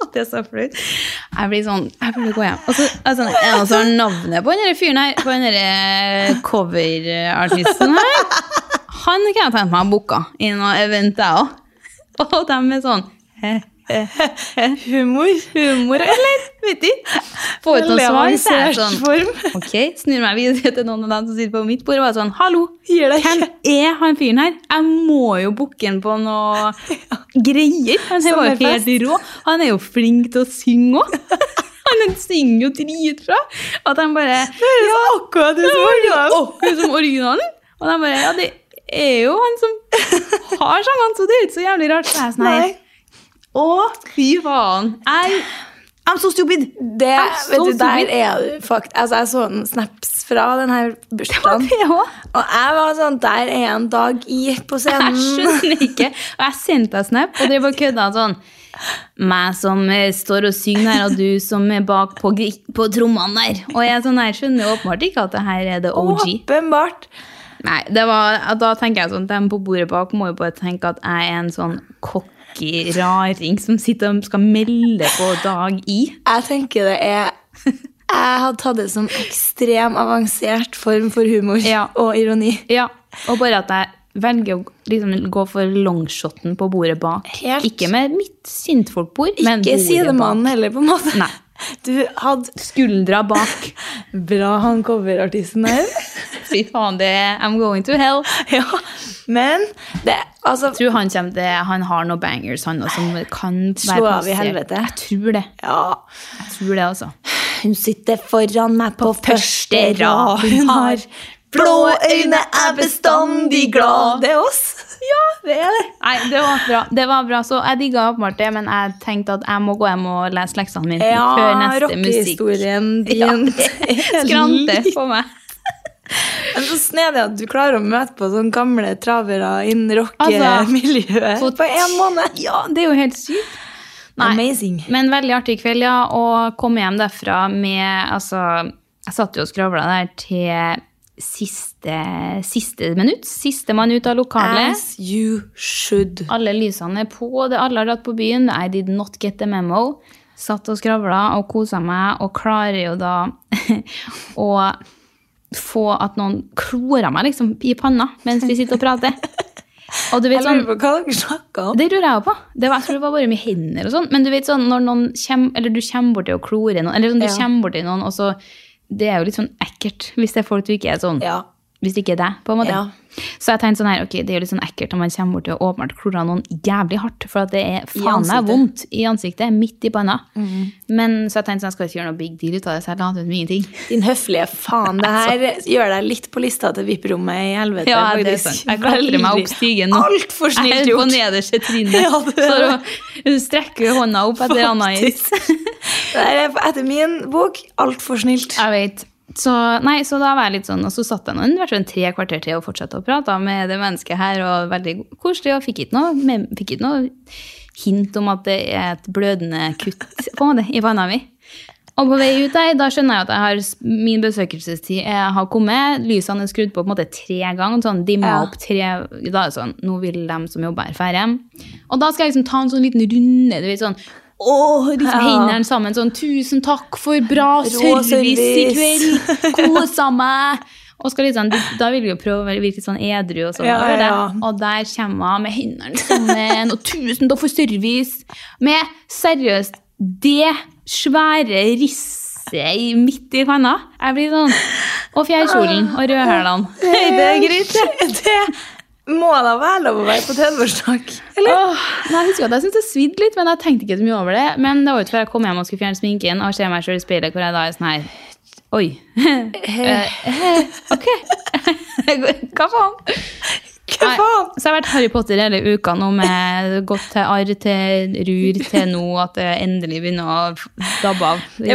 [SPEAKER 2] Og Det er så flaut. Jeg blir sånn, jeg burde gå hjem. Og så er jeg sånn, er det noen som har navnet på denne fyren her, på denne coverartisten her? Han kan jeg tenke meg å boka i noe event jeg også. Og de er sånn, he, he, he, humor, humor, eller, vet ikke. Får ut noen svar, så er jeg sånn, Ok, snur meg videre til noen av dem som sitter på mitt bord og er sånn Hallo,
[SPEAKER 3] Gir deg
[SPEAKER 2] hvem er han fyren her? Jeg må jo booke han på
[SPEAKER 3] [laughs]
[SPEAKER 2] noe greier. Han her var jo
[SPEAKER 3] Sommerfest.
[SPEAKER 2] helt rå. Han er jo flink til å synge òg. [laughs] Han synger jo dritbra. At han bare
[SPEAKER 3] Det er så akkurat det som var
[SPEAKER 2] Åh, hun som originalen. Og de bare Ja, det er jo han som har sangene, så det er jo ikke så jævlig rart. Så jeg er sånn her
[SPEAKER 3] Nei.
[SPEAKER 2] Å, fy faen. Jeg I'm so stupid.
[SPEAKER 3] Det,
[SPEAKER 2] I'm so
[SPEAKER 3] vet du, der
[SPEAKER 2] stupid.
[SPEAKER 3] er du faktisk Altså, jeg så en snaps fra den her bursdagen.
[SPEAKER 2] [laughs] Det også.
[SPEAKER 3] Og jeg var sånn Der er en dag i på scenen.
[SPEAKER 2] Jeg skjønner ikke. Og jeg sendte deg snap og drev og kødda sånn. Meg som eh, står og synger her, og du som er bak på, gri- på trommene der. Og jeg, er sånn, jeg skjønner jo åpenbart ikke at det her er the OG.
[SPEAKER 3] Åpenbart.
[SPEAKER 2] Nei, det var, da tenker jeg sånn, dem på bordet bak må jo bare tenke at jeg er en sånn cocky raring som sitter og skal melde på dag i.
[SPEAKER 3] Jeg tenker det er Jeg hadde tatt det som ekstrem avansert form for humor
[SPEAKER 2] Ja.
[SPEAKER 3] og ironi.
[SPEAKER 2] Ja, og bare at jeg velger å liksom, gå for longshoten på bordet bak.
[SPEAKER 3] Helt.
[SPEAKER 2] Ikke med mitt sintfolkbord, men
[SPEAKER 3] Ikke
[SPEAKER 2] bordet bak.
[SPEAKER 3] sidemannen heller, på en måte.
[SPEAKER 2] Nei.
[SPEAKER 3] Du hadde
[SPEAKER 2] Skuldra
[SPEAKER 3] [laughs]
[SPEAKER 2] bak.
[SPEAKER 3] Bra han coverartisten her.
[SPEAKER 2] Fy faen, det I'm going to hell.
[SPEAKER 3] [laughs] ja. Men det Altså,
[SPEAKER 2] Jeg tror han, kommer til, han har noen bangers, han også, som kan være
[SPEAKER 3] Slå av i
[SPEAKER 2] plassert.
[SPEAKER 3] helvete.
[SPEAKER 2] Jeg tror det.
[SPEAKER 3] ja.
[SPEAKER 2] Jeg tror det altså. også.
[SPEAKER 3] Hun sitter foran meg på første rad. Hun har blå øyne, er bestandig glad. Det er oss. Ja, det er det.
[SPEAKER 2] Nei, det var bra. Det var bra. Så jeg digga åpenbart det, men jeg tenkte at jeg må gå hjem og lese leksene mine før neste musikk.
[SPEAKER 3] rockehistorien [laughs] din.
[SPEAKER 2] [laughs] Skrante på meg.
[SPEAKER 3] Men så snedig at du klarer å møte på sånne gamle travere innen
[SPEAKER 2] Altså,
[SPEAKER 3] rockemiljøet
[SPEAKER 2] så-
[SPEAKER 3] på én måned.
[SPEAKER 2] Ja, det er jo helt sykt. Nei.
[SPEAKER 3] Amazing.
[SPEAKER 2] Men veldig artig kveld, ja. Og kom hjem derfra med Altså, jeg satt jo og skravla der til siste, siste minutt. Sistemann ut av lokalet.
[SPEAKER 3] As you should.
[SPEAKER 2] Alle lysene er på, det alle har dratt på byen. I did not get the memo. Satt og skravla og kosa meg, og klarer jo da [laughs] å få at noen klorer meg liksom i panna mens vi sitter og
[SPEAKER 3] [laughs]
[SPEAKER 2] prater. Og du vet
[SPEAKER 3] Jeg
[SPEAKER 2] sånn,
[SPEAKER 3] lurer på hva dere snakker om.
[SPEAKER 2] det tror jeg òg på. Det var, jeg tror det var bare mye hender og sånn. Men du vet sånn, når noen kommer, eller du kommer borti og klorer noen, eller sånn, du
[SPEAKER 3] Ja.
[SPEAKER 2] kommer borti noen, og så Det er jo litt sånn ekkelt hvis det er folk du ikke er sånn
[SPEAKER 3] Ja.
[SPEAKER 2] Hvis det ikke er deg, på en måte.
[SPEAKER 3] Ja.
[SPEAKER 2] Så jeg tenkte sånn her, ok, det er jo litt sånn ekkelt når man kommer borti og åpenbart klorer noen jævlig hardt, for at det er faen meg
[SPEAKER 3] ansiktet. Mhm.
[SPEAKER 2] vondt i ansiktet, midt i panna. Men så jeg tenkte sånn, jeg skal ikke gjøre noe big deal ut av det, så jeg later som
[SPEAKER 3] [laughs]
[SPEAKER 2] ingenting.
[SPEAKER 3] Din høflige faen. Det [laughs] her gjør deg litt på lista til VIP-rommet i helvete.
[SPEAKER 2] Ja, det er sant. sånn, Jeg klatrer meg opp stigen nå.
[SPEAKER 3] Altfor
[SPEAKER 2] Jeg
[SPEAKER 3] snilt
[SPEAKER 2] er på
[SPEAKER 3] gjort.
[SPEAKER 2] nederste trinnet.
[SPEAKER 3] [laughs] Ja, det er
[SPEAKER 2] Står og strekker hånda opp
[SPEAKER 3] [laughs]
[SPEAKER 2] etter anna is.
[SPEAKER 3] Det her er etter min bok altfor snilt.
[SPEAKER 2] Jeg vet. Så, nei, så da var jeg litt sånn, og så satt jeg nå i hvert fall en tre kvarter til og fortsatte å prate med det mennesket her, og veldig koselig, og fikk ikke noe, men- fikk ikke noe hint om at det er et blødende kutt på en måte, i panna mi. Og på vei ut der, da skjønner jeg at jeg har, min besøkelsestid er- har kommet, lysene er skrudd på på en måte tre ganger, sånn dimma
[SPEAKER 3] Ja.
[SPEAKER 2] opp tre, da er det sånn, nå vil de som jobber her fære hjem. Og da skal jeg liksom ta en sånn liten runde, du vet sånn, Åh, liksom hendene sammen sånn, tusen takk for bra
[SPEAKER 3] Rå
[SPEAKER 2] service i
[SPEAKER 3] service.
[SPEAKER 2] [laughs] kveld. Kosa meg. Og skal litt sånn, da vil vi jo prøve å være- virke litt sånn edru og sånn.
[SPEAKER 3] Ja,
[SPEAKER 2] over det.
[SPEAKER 3] ja.
[SPEAKER 2] Og der kommer hun med hendene sammen, og tusen takk for service. Med seriøst det svære risset i- midt i panna. Jeg blir sånn Og fjærkjolen og rødhælene. [laughs]
[SPEAKER 3] det er greit, det. Det må da være lov å være på 30-årsdag. Eller?
[SPEAKER 2] Åh, nei, jeg husker at jeg syntes det svidde litt, men jeg tenkte ikke så mye over det. Men det var jo ikke før jeg kom hjem og skulle fjerne sminken og se meg selv i speilet, hvor jeg da er sånn her Oi. Eh, ok. Hva faen?
[SPEAKER 3] Hva faen?
[SPEAKER 2] Nei, Så jeg har vært Harry Potter hele uka nå, med gått til arr, til rur, til nå, at det endelig begynner å dabbe av.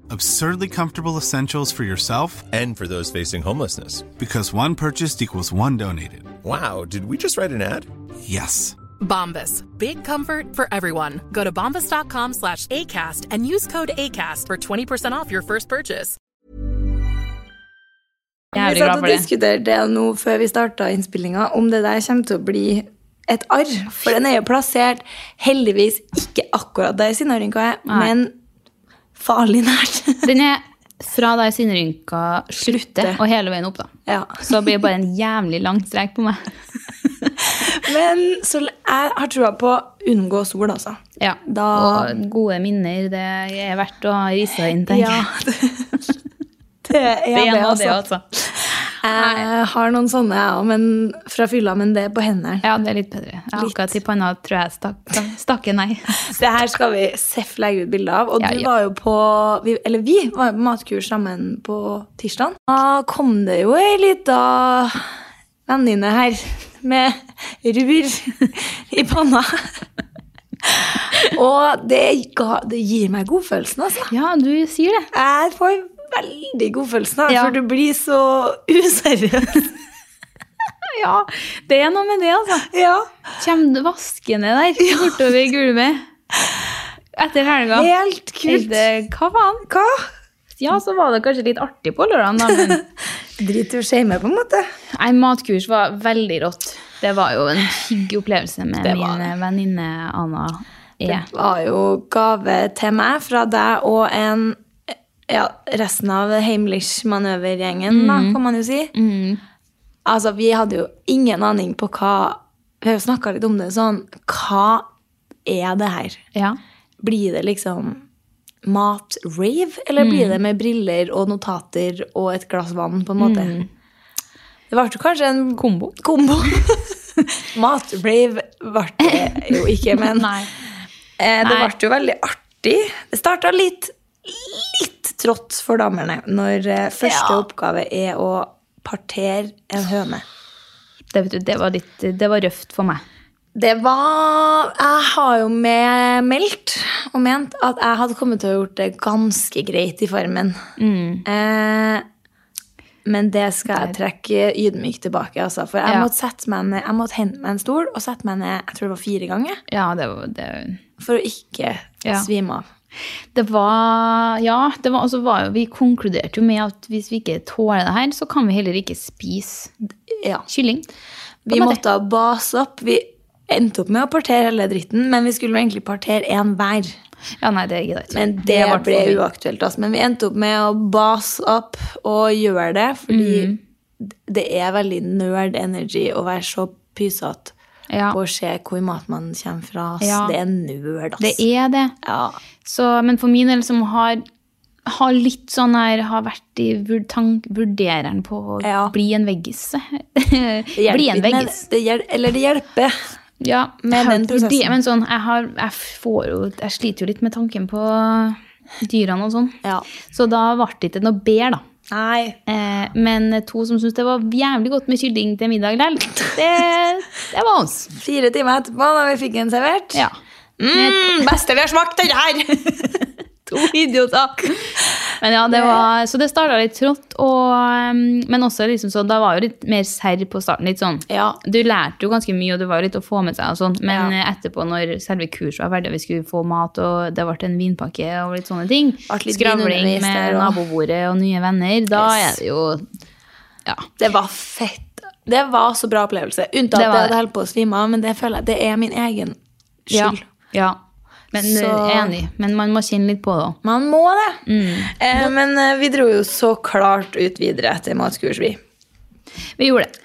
[SPEAKER 5] Absurdly comfortable essentials for yourself
[SPEAKER 6] And for those facing homelessness.
[SPEAKER 5] because one purchased equals one donated.
[SPEAKER 6] Wow, did we just write an ad?
[SPEAKER 5] Yes.
[SPEAKER 7] Bombas. Big comfort for everyone. Go to bombas.com slash ACAST and use code ACAST for 20% off your first purchase.
[SPEAKER 3] Vi
[SPEAKER 2] Jævlig
[SPEAKER 3] satt
[SPEAKER 2] glad
[SPEAKER 3] og
[SPEAKER 2] for det.
[SPEAKER 3] diskuterte det nå før vi starta innspillinga, om det der kommer til å bli et arr. For den er jo plassert heldigvis ikke akkurat der Sinnarynka er, men farlig nært. [laughs]
[SPEAKER 2] Den er fra der sinnrynka slutter,
[SPEAKER 3] Slutter.
[SPEAKER 2] og hele veien opp, da.
[SPEAKER 3] Ja.
[SPEAKER 2] Så det blir bare en jævlig lang strek på meg.
[SPEAKER 3] [laughs] Men så l- jeg har trua på å unngå sol, altså.
[SPEAKER 2] Ja,
[SPEAKER 3] Da-
[SPEAKER 2] og gode minner, det er
[SPEAKER 3] [laughs]
[SPEAKER 2] verdt å ha rissa inn, tenker jeg.
[SPEAKER 3] det er det,
[SPEAKER 2] Det er noe av det,
[SPEAKER 3] altså.
[SPEAKER 2] altså.
[SPEAKER 3] Jeg har noen sånne, jeg òg, men fra fylla, men det er på hendene.
[SPEAKER 2] Ja, det er litt bedre. Jeg har akkurat i panna, tror jeg stakk. Stakke, nei.
[SPEAKER 3] Det her skal vi seff legge ut bilde av. Og
[SPEAKER 2] Ja,
[SPEAKER 3] du
[SPEAKER 2] ja.
[SPEAKER 3] var jo på vi, Eller vi var jo på matkurs sammen på tirsdag. Da kom det jo ei lita venninne her med rur i panna. Og det, ga, det gir meg godfølelsen, altså.
[SPEAKER 2] [laughs] Ja, du sier [laughs] det.
[SPEAKER 3] Jeg får veldig godfølelsen,
[SPEAKER 2] Ja.
[SPEAKER 3] ja. for du blir så useriøs.
[SPEAKER 2] [laughs] Ja, det er noe med det, altså.
[SPEAKER 3] ja.
[SPEAKER 2] Kjem det vaskende [laughs] der bortover gulvet etter helga.
[SPEAKER 3] Helt kult.
[SPEAKER 2] Tenkte, Hva faen?
[SPEAKER 3] Hva?
[SPEAKER 2] Ja, så var det kanskje litt artig på lørdagen, da, [laughs] men
[SPEAKER 3] Drit i å shame, på en måte.
[SPEAKER 2] Nei, matkurs var veldig rått. Det var jo en hyggelig opplevelse med
[SPEAKER 3] Det var
[SPEAKER 2] min eh, venninne Anna. E.
[SPEAKER 3] Det var jo gave til meg fra deg og en ja, resten av Heimlich-manøvergjengen, da,
[SPEAKER 2] Mm.
[SPEAKER 3] kan man jo si. Altså, vi hadde jo ingen aning på hva Vi har jo snakka litt om det sånn Hva er det her?
[SPEAKER 2] Ja.
[SPEAKER 3] Blir det liksom mat-rave, eller
[SPEAKER 2] Mm.
[SPEAKER 3] blir det med briller og notater og et glass vann, på en måte? Det ble jo kanskje en
[SPEAKER 2] Mm. Kombo.
[SPEAKER 3] kombo. [laughs] Mat-rave ble det jo ikke, men
[SPEAKER 2] [laughs] Nei.
[SPEAKER 3] Eh, det
[SPEAKER 2] Nei.
[SPEAKER 3] ble jo veldig artig. Det starta litt, litt trått for damene når eh, første oppgave er å partere en høne.
[SPEAKER 2] Det, vet du, det, var litt, det var røft for meg.
[SPEAKER 3] Det var Jeg har jo med meldt og ment at jeg hadde kommet til å ha gjort det ganske greit i formen. Eh, men det skal jeg trekke ydmykt tilbake, altså. For jeg
[SPEAKER 2] Ja.
[SPEAKER 3] måtte, sette meg ned, jeg måtte hente meg en stol og sette meg ned jeg tror det var fire ganger
[SPEAKER 2] Ja, det var, det,
[SPEAKER 3] for å ikke
[SPEAKER 2] Ja.
[SPEAKER 3] svime av.
[SPEAKER 2] det var Ja, det var, og så var jo, vi konkluderte jo med at hvis vi ikke tåler det her, så kan vi heller ikke spise
[SPEAKER 3] Ja.
[SPEAKER 2] kylling.
[SPEAKER 3] Vi måtte ha base opp. Vi endte opp med å partere hele dritten, men vi skulle jo egentlig partere én hver.
[SPEAKER 2] Ja, nei, det gidder jeg ikke.
[SPEAKER 3] Men det
[SPEAKER 2] vart
[SPEAKER 3] ble
[SPEAKER 2] for mye.
[SPEAKER 3] uaktuelt. Altså. Men vi endte opp med å base opp og gjøre det, fordi
[SPEAKER 2] Mm.
[SPEAKER 3] det er veldig nerd energy å være så pysete
[SPEAKER 2] Ja.
[SPEAKER 3] på å se hvor maten kommer fra. ass.
[SPEAKER 2] Ja.
[SPEAKER 3] Det er nerd, ass.
[SPEAKER 2] Det er det.
[SPEAKER 3] Ja.
[SPEAKER 2] Så, men for min del som har, har litt sånn her, har vært i vur- tank, vurdereren på å
[SPEAKER 3] Ja.
[SPEAKER 2] bli en veggis.
[SPEAKER 3] [laughs] Det hjelper
[SPEAKER 2] bli en
[SPEAKER 3] ikke med-
[SPEAKER 2] veggis.
[SPEAKER 3] det hjel- Eller det hjelper.
[SPEAKER 2] Ja,
[SPEAKER 3] med
[SPEAKER 2] jeg har [laughs]
[SPEAKER 3] den
[SPEAKER 2] vurder-
[SPEAKER 3] prosessen.
[SPEAKER 2] Men sånn, jeg, har, jeg, får jo, jeg sliter jo litt med tanken på dyrene og sånn.
[SPEAKER 3] Ja.
[SPEAKER 2] Så da ble det ikke noe bedre, da.
[SPEAKER 3] Nei.
[SPEAKER 2] Eh, men to som syntes det var jævlig godt med kylling til middag likevel, det, det var oss.
[SPEAKER 3] Fire timer etterpå, da vi fikk den servert.
[SPEAKER 2] Ja.
[SPEAKER 3] Mm, beste vi har smakt, den her!
[SPEAKER 2] [laughs] To idioter. Men ja, det var, så det starta litt trått, og, um, men også liksom så, da var jo litt mer serr på starten. litt sånn.
[SPEAKER 3] Ja.
[SPEAKER 2] Du lærte jo ganske mye, og det var jo litt å få med seg. og sånn, Men
[SPEAKER 3] Ja.
[SPEAKER 2] eh, etterpå, når selve kurset var ferdig, og vi skulle få mat, og det ble en vinpakke og litt sånne ting,
[SPEAKER 3] Vart litt
[SPEAKER 2] skravling
[SPEAKER 3] vinundervist
[SPEAKER 2] med
[SPEAKER 3] der, og-
[SPEAKER 2] nabobordet og nye venner, da
[SPEAKER 3] Yes.
[SPEAKER 2] er det jo Ja.
[SPEAKER 3] Det var fett. Det var så bra opplevelse. Unntatt
[SPEAKER 2] Det var
[SPEAKER 3] det, jeg
[SPEAKER 2] det.
[SPEAKER 3] hadde holdt på å svime av, men det føler jeg det er min egen
[SPEAKER 2] Ja.
[SPEAKER 3] skyld.
[SPEAKER 2] ja. Men eh,
[SPEAKER 3] Så-
[SPEAKER 2] Enig. Men man må kjenne litt på det òg.
[SPEAKER 3] Man må det. Eh, men eh, vi dro jo så klart ut videre etter matkurs, vi.
[SPEAKER 2] Vi gjorde det.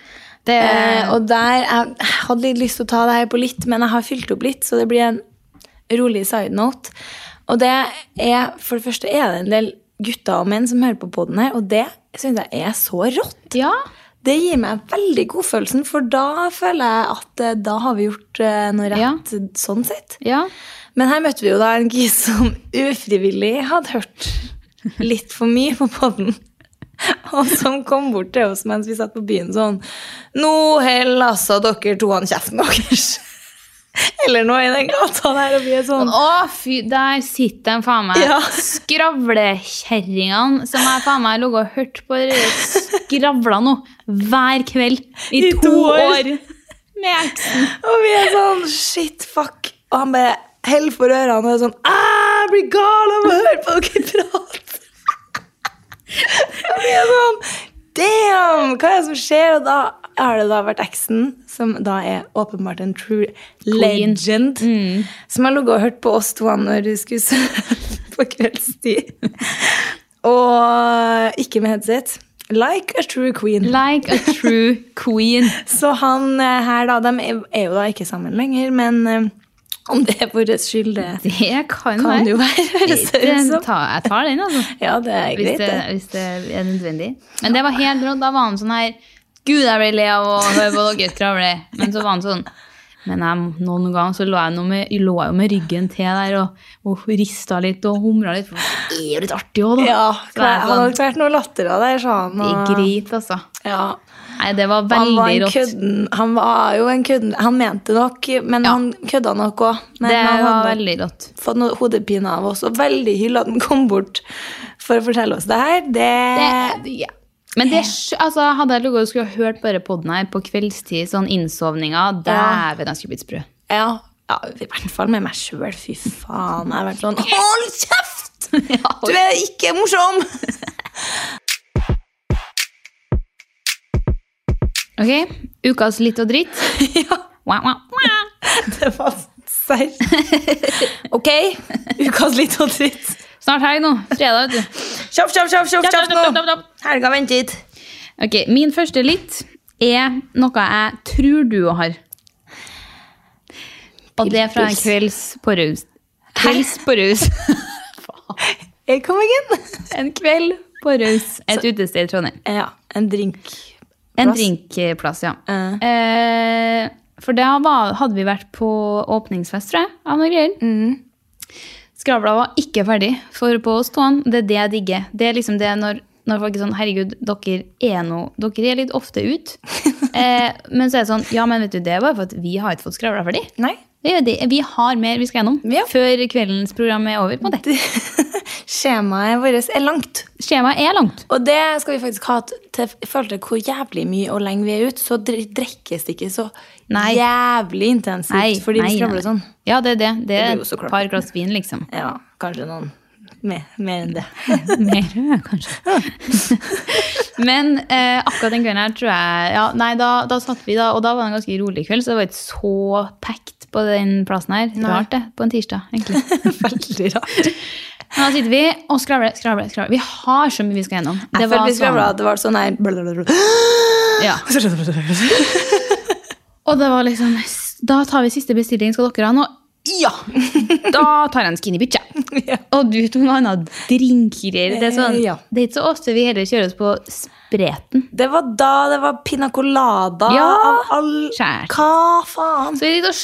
[SPEAKER 2] det
[SPEAKER 3] Eh, og der Jeg jeg hadde litt lyst til å ta det her på litt, men jeg har fylt opp litt, så det blir en rolig side note. Og det er, for det første er det en del gutter og menn som hører på podden her, og det syns jeg er så rått.
[SPEAKER 2] ja.
[SPEAKER 3] Det gir meg veldig godfølelsen, for da føler jeg at eh, da har vi gjort eh, noe
[SPEAKER 2] Ja.
[SPEAKER 3] rett sånn sett.
[SPEAKER 2] Ja.
[SPEAKER 3] Men her møtte vi jo da en gis som ufrivillig hadde hørt litt for mye på podden. Og som kom bort til oss mens vi satt på byen sånn Nå holder altså dere to han kjeften deres. Eller noe i den gata der. Og vi er sånn
[SPEAKER 2] Å, fy, der sitter de faen meg
[SPEAKER 3] Ja.
[SPEAKER 2] skravlekjerringene som jeg faen meg har ligget og hørt på dere skravla nå hver kveld i,
[SPEAKER 3] I
[SPEAKER 2] to,
[SPEAKER 3] to år.
[SPEAKER 2] år. Med eksen.
[SPEAKER 3] Og vi er sånn shit, fuck. Og han bare heller for ørene og er sånn «Æ, Jeg blir gal av å høre på dere prate! og vi er sånn Damn! Hva er det som skjer? Og da har det da vært eksen, som da er åpenbart en true legend, som har ligget og hørt på oss to når du skulle sove [laughs] på kveldstid. og ikke med headset. Like a true queen.
[SPEAKER 2] Like a true queen.
[SPEAKER 3] Så han eh, her, da De er er jo da ikke sammen lenger, men eh, Om det er vår skyld, det
[SPEAKER 2] Det kan,
[SPEAKER 3] kan jo være. høres det ut som.
[SPEAKER 2] Ta, jeg tar den, altså.
[SPEAKER 3] Ja, det er
[SPEAKER 2] hvis
[SPEAKER 3] greit,
[SPEAKER 2] det,
[SPEAKER 3] det.
[SPEAKER 2] hvis det er nødvendig. Men det var helt rått. Da var han sånn her Gud, jeg ble lei av å høre på dere skravle. Men så var han sånn Men jeg, noen ganger så lå jeg, nå med, lå jeg jo med ryggen til der og, og rista litt og humra litt. For det er jo litt artig òg, da.
[SPEAKER 3] Ja,
[SPEAKER 2] Så jeg
[SPEAKER 3] han hadde
[SPEAKER 2] sånn,
[SPEAKER 3] ikke vært noe latter av deg, sa han.
[SPEAKER 2] det er greit, altså.
[SPEAKER 3] Ja.
[SPEAKER 2] Nei, det var
[SPEAKER 3] Han var,
[SPEAKER 2] veldig
[SPEAKER 3] en
[SPEAKER 2] rått.
[SPEAKER 3] kødden, han var jo en kødden Han mente nok, men han kødda nok òg. Men
[SPEAKER 2] Det
[SPEAKER 3] han
[SPEAKER 2] var
[SPEAKER 3] hadde nok
[SPEAKER 2] veldig rått.
[SPEAKER 3] fått noe hodepine av oss, og veldig hyll at han kom bort for å fortelle oss det her. Det,
[SPEAKER 2] Det, ja. Men
[SPEAKER 3] Eh.
[SPEAKER 2] det, skj- altså, hadde jeg ligget og skulle ha hørt bare podden her på kveldstid, sånn innsovninger, dæven, jeg skulle blitt sprø.
[SPEAKER 3] ja, ja, I hvert fall med meg sjøl. Fy faen. Jeg har vært sånn Hold kjeft!
[SPEAKER 2] [laughs]
[SPEAKER 3] Du er ikke morsom!
[SPEAKER 2] Ok, ukas litt og [laughs] dritt. Wah, wah, wah.
[SPEAKER 3] Det var serr. [laughs] Ok, ukas litt og dritt.
[SPEAKER 2] Snart helg nå. Fredag, vet du.
[SPEAKER 3] Kjapp, kjapp, kjapp, kjapp, kjapp nå! Helga venter ikke.
[SPEAKER 2] Ok, Min første litt er noe jeg tror du har. Og det er fra en kvelds på rus. Kvelds på rus.
[SPEAKER 3] Hey, Come again.
[SPEAKER 2] [laughs] En kveld på raus. Et utested i Trondheim.
[SPEAKER 3] Ja, en drink.
[SPEAKER 2] En
[SPEAKER 3] Plass.
[SPEAKER 2] drinkplass, ja.
[SPEAKER 3] Eh.
[SPEAKER 2] Eh, for da var, hadde vi vært på åpningsfest, tror jeg, av noen greier.
[SPEAKER 3] Mm.
[SPEAKER 2] Skravla var ikke ferdig for på ståen. Det er det jeg digger. Det er liksom det når, når folk er sånn Herregud, dere er, no, dere er litt ofte
[SPEAKER 3] [laughs]
[SPEAKER 2] ute. eh, men så er det sånn Ja, men vet du, det var for at vi har ikke fått skravla ferdig.
[SPEAKER 3] Nei. [laughs]
[SPEAKER 2] Det er jo det. Vi har mer vi skal gjennom
[SPEAKER 3] Ja.
[SPEAKER 2] før kveldens program er over. på det.
[SPEAKER 3] Skjemaet vårt er langt.
[SPEAKER 2] Skjemaet er langt.
[SPEAKER 3] Og det skal vi faktisk ha til- til i forhold til hvor jævlig mye og lenge vi er ute, så dri- drikkes det ikke så
[SPEAKER 2] Nei.
[SPEAKER 3] jævlig intensivt fordi vi skravler sånn.
[SPEAKER 2] Ja, det er det. Det
[SPEAKER 3] blir
[SPEAKER 2] er
[SPEAKER 3] jo så
[SPEAKER 2] et
[SPEAKER 3] klart.
[SPEAKER 2] par glass vin, liksom.
[SPEAKER 3] Ja, kanskje noen mer, mer enn [laughs] det.
[SPEAKER 2] Mer rød, kanskje. [laughs] Men eh, akkurat den kvelden her tror jeg ja, Nei, da, da satt vi, da, og da var det en ganske rolig kveld, så det var ikke så packed på den plassen her. Rart, det. På en tirsdag, egentlig.
[SPEAKER 3] Veldig rart.
[SPEAKER 2] Men da sitter vi og skravler, skravler, skravler. Vi har så mye vi skal gjennom.
[SPEAKER 3] Jeg følte vi
[SPEAKER 2] sånn-
[SPEAKER 3] skravla at det var sånn her
[SPEAKER 2] [laughs] Ja. [laughs] Og det var liksom Da tar vi siste bestilling, skal dere ha noe? Ja! Da tar jeg en skinny bitch, jeg. [laughs] Og du tok noe annet drinkgreier. Det er sånn,
[SPEAKER 3] Eh, ja.
[SPEAKER 2] det er ikke så ofte vi heller kjører oss på spreten.
[SPEAKER 3] Det var da det var pina colada
[SPEAKER 2] Ja.
[SPEAKER 3] av all
[SPEAKER 2] Skjær.
[SPEAKER 3] Hva faen?
[SPEAKER 2] Så vi sitter og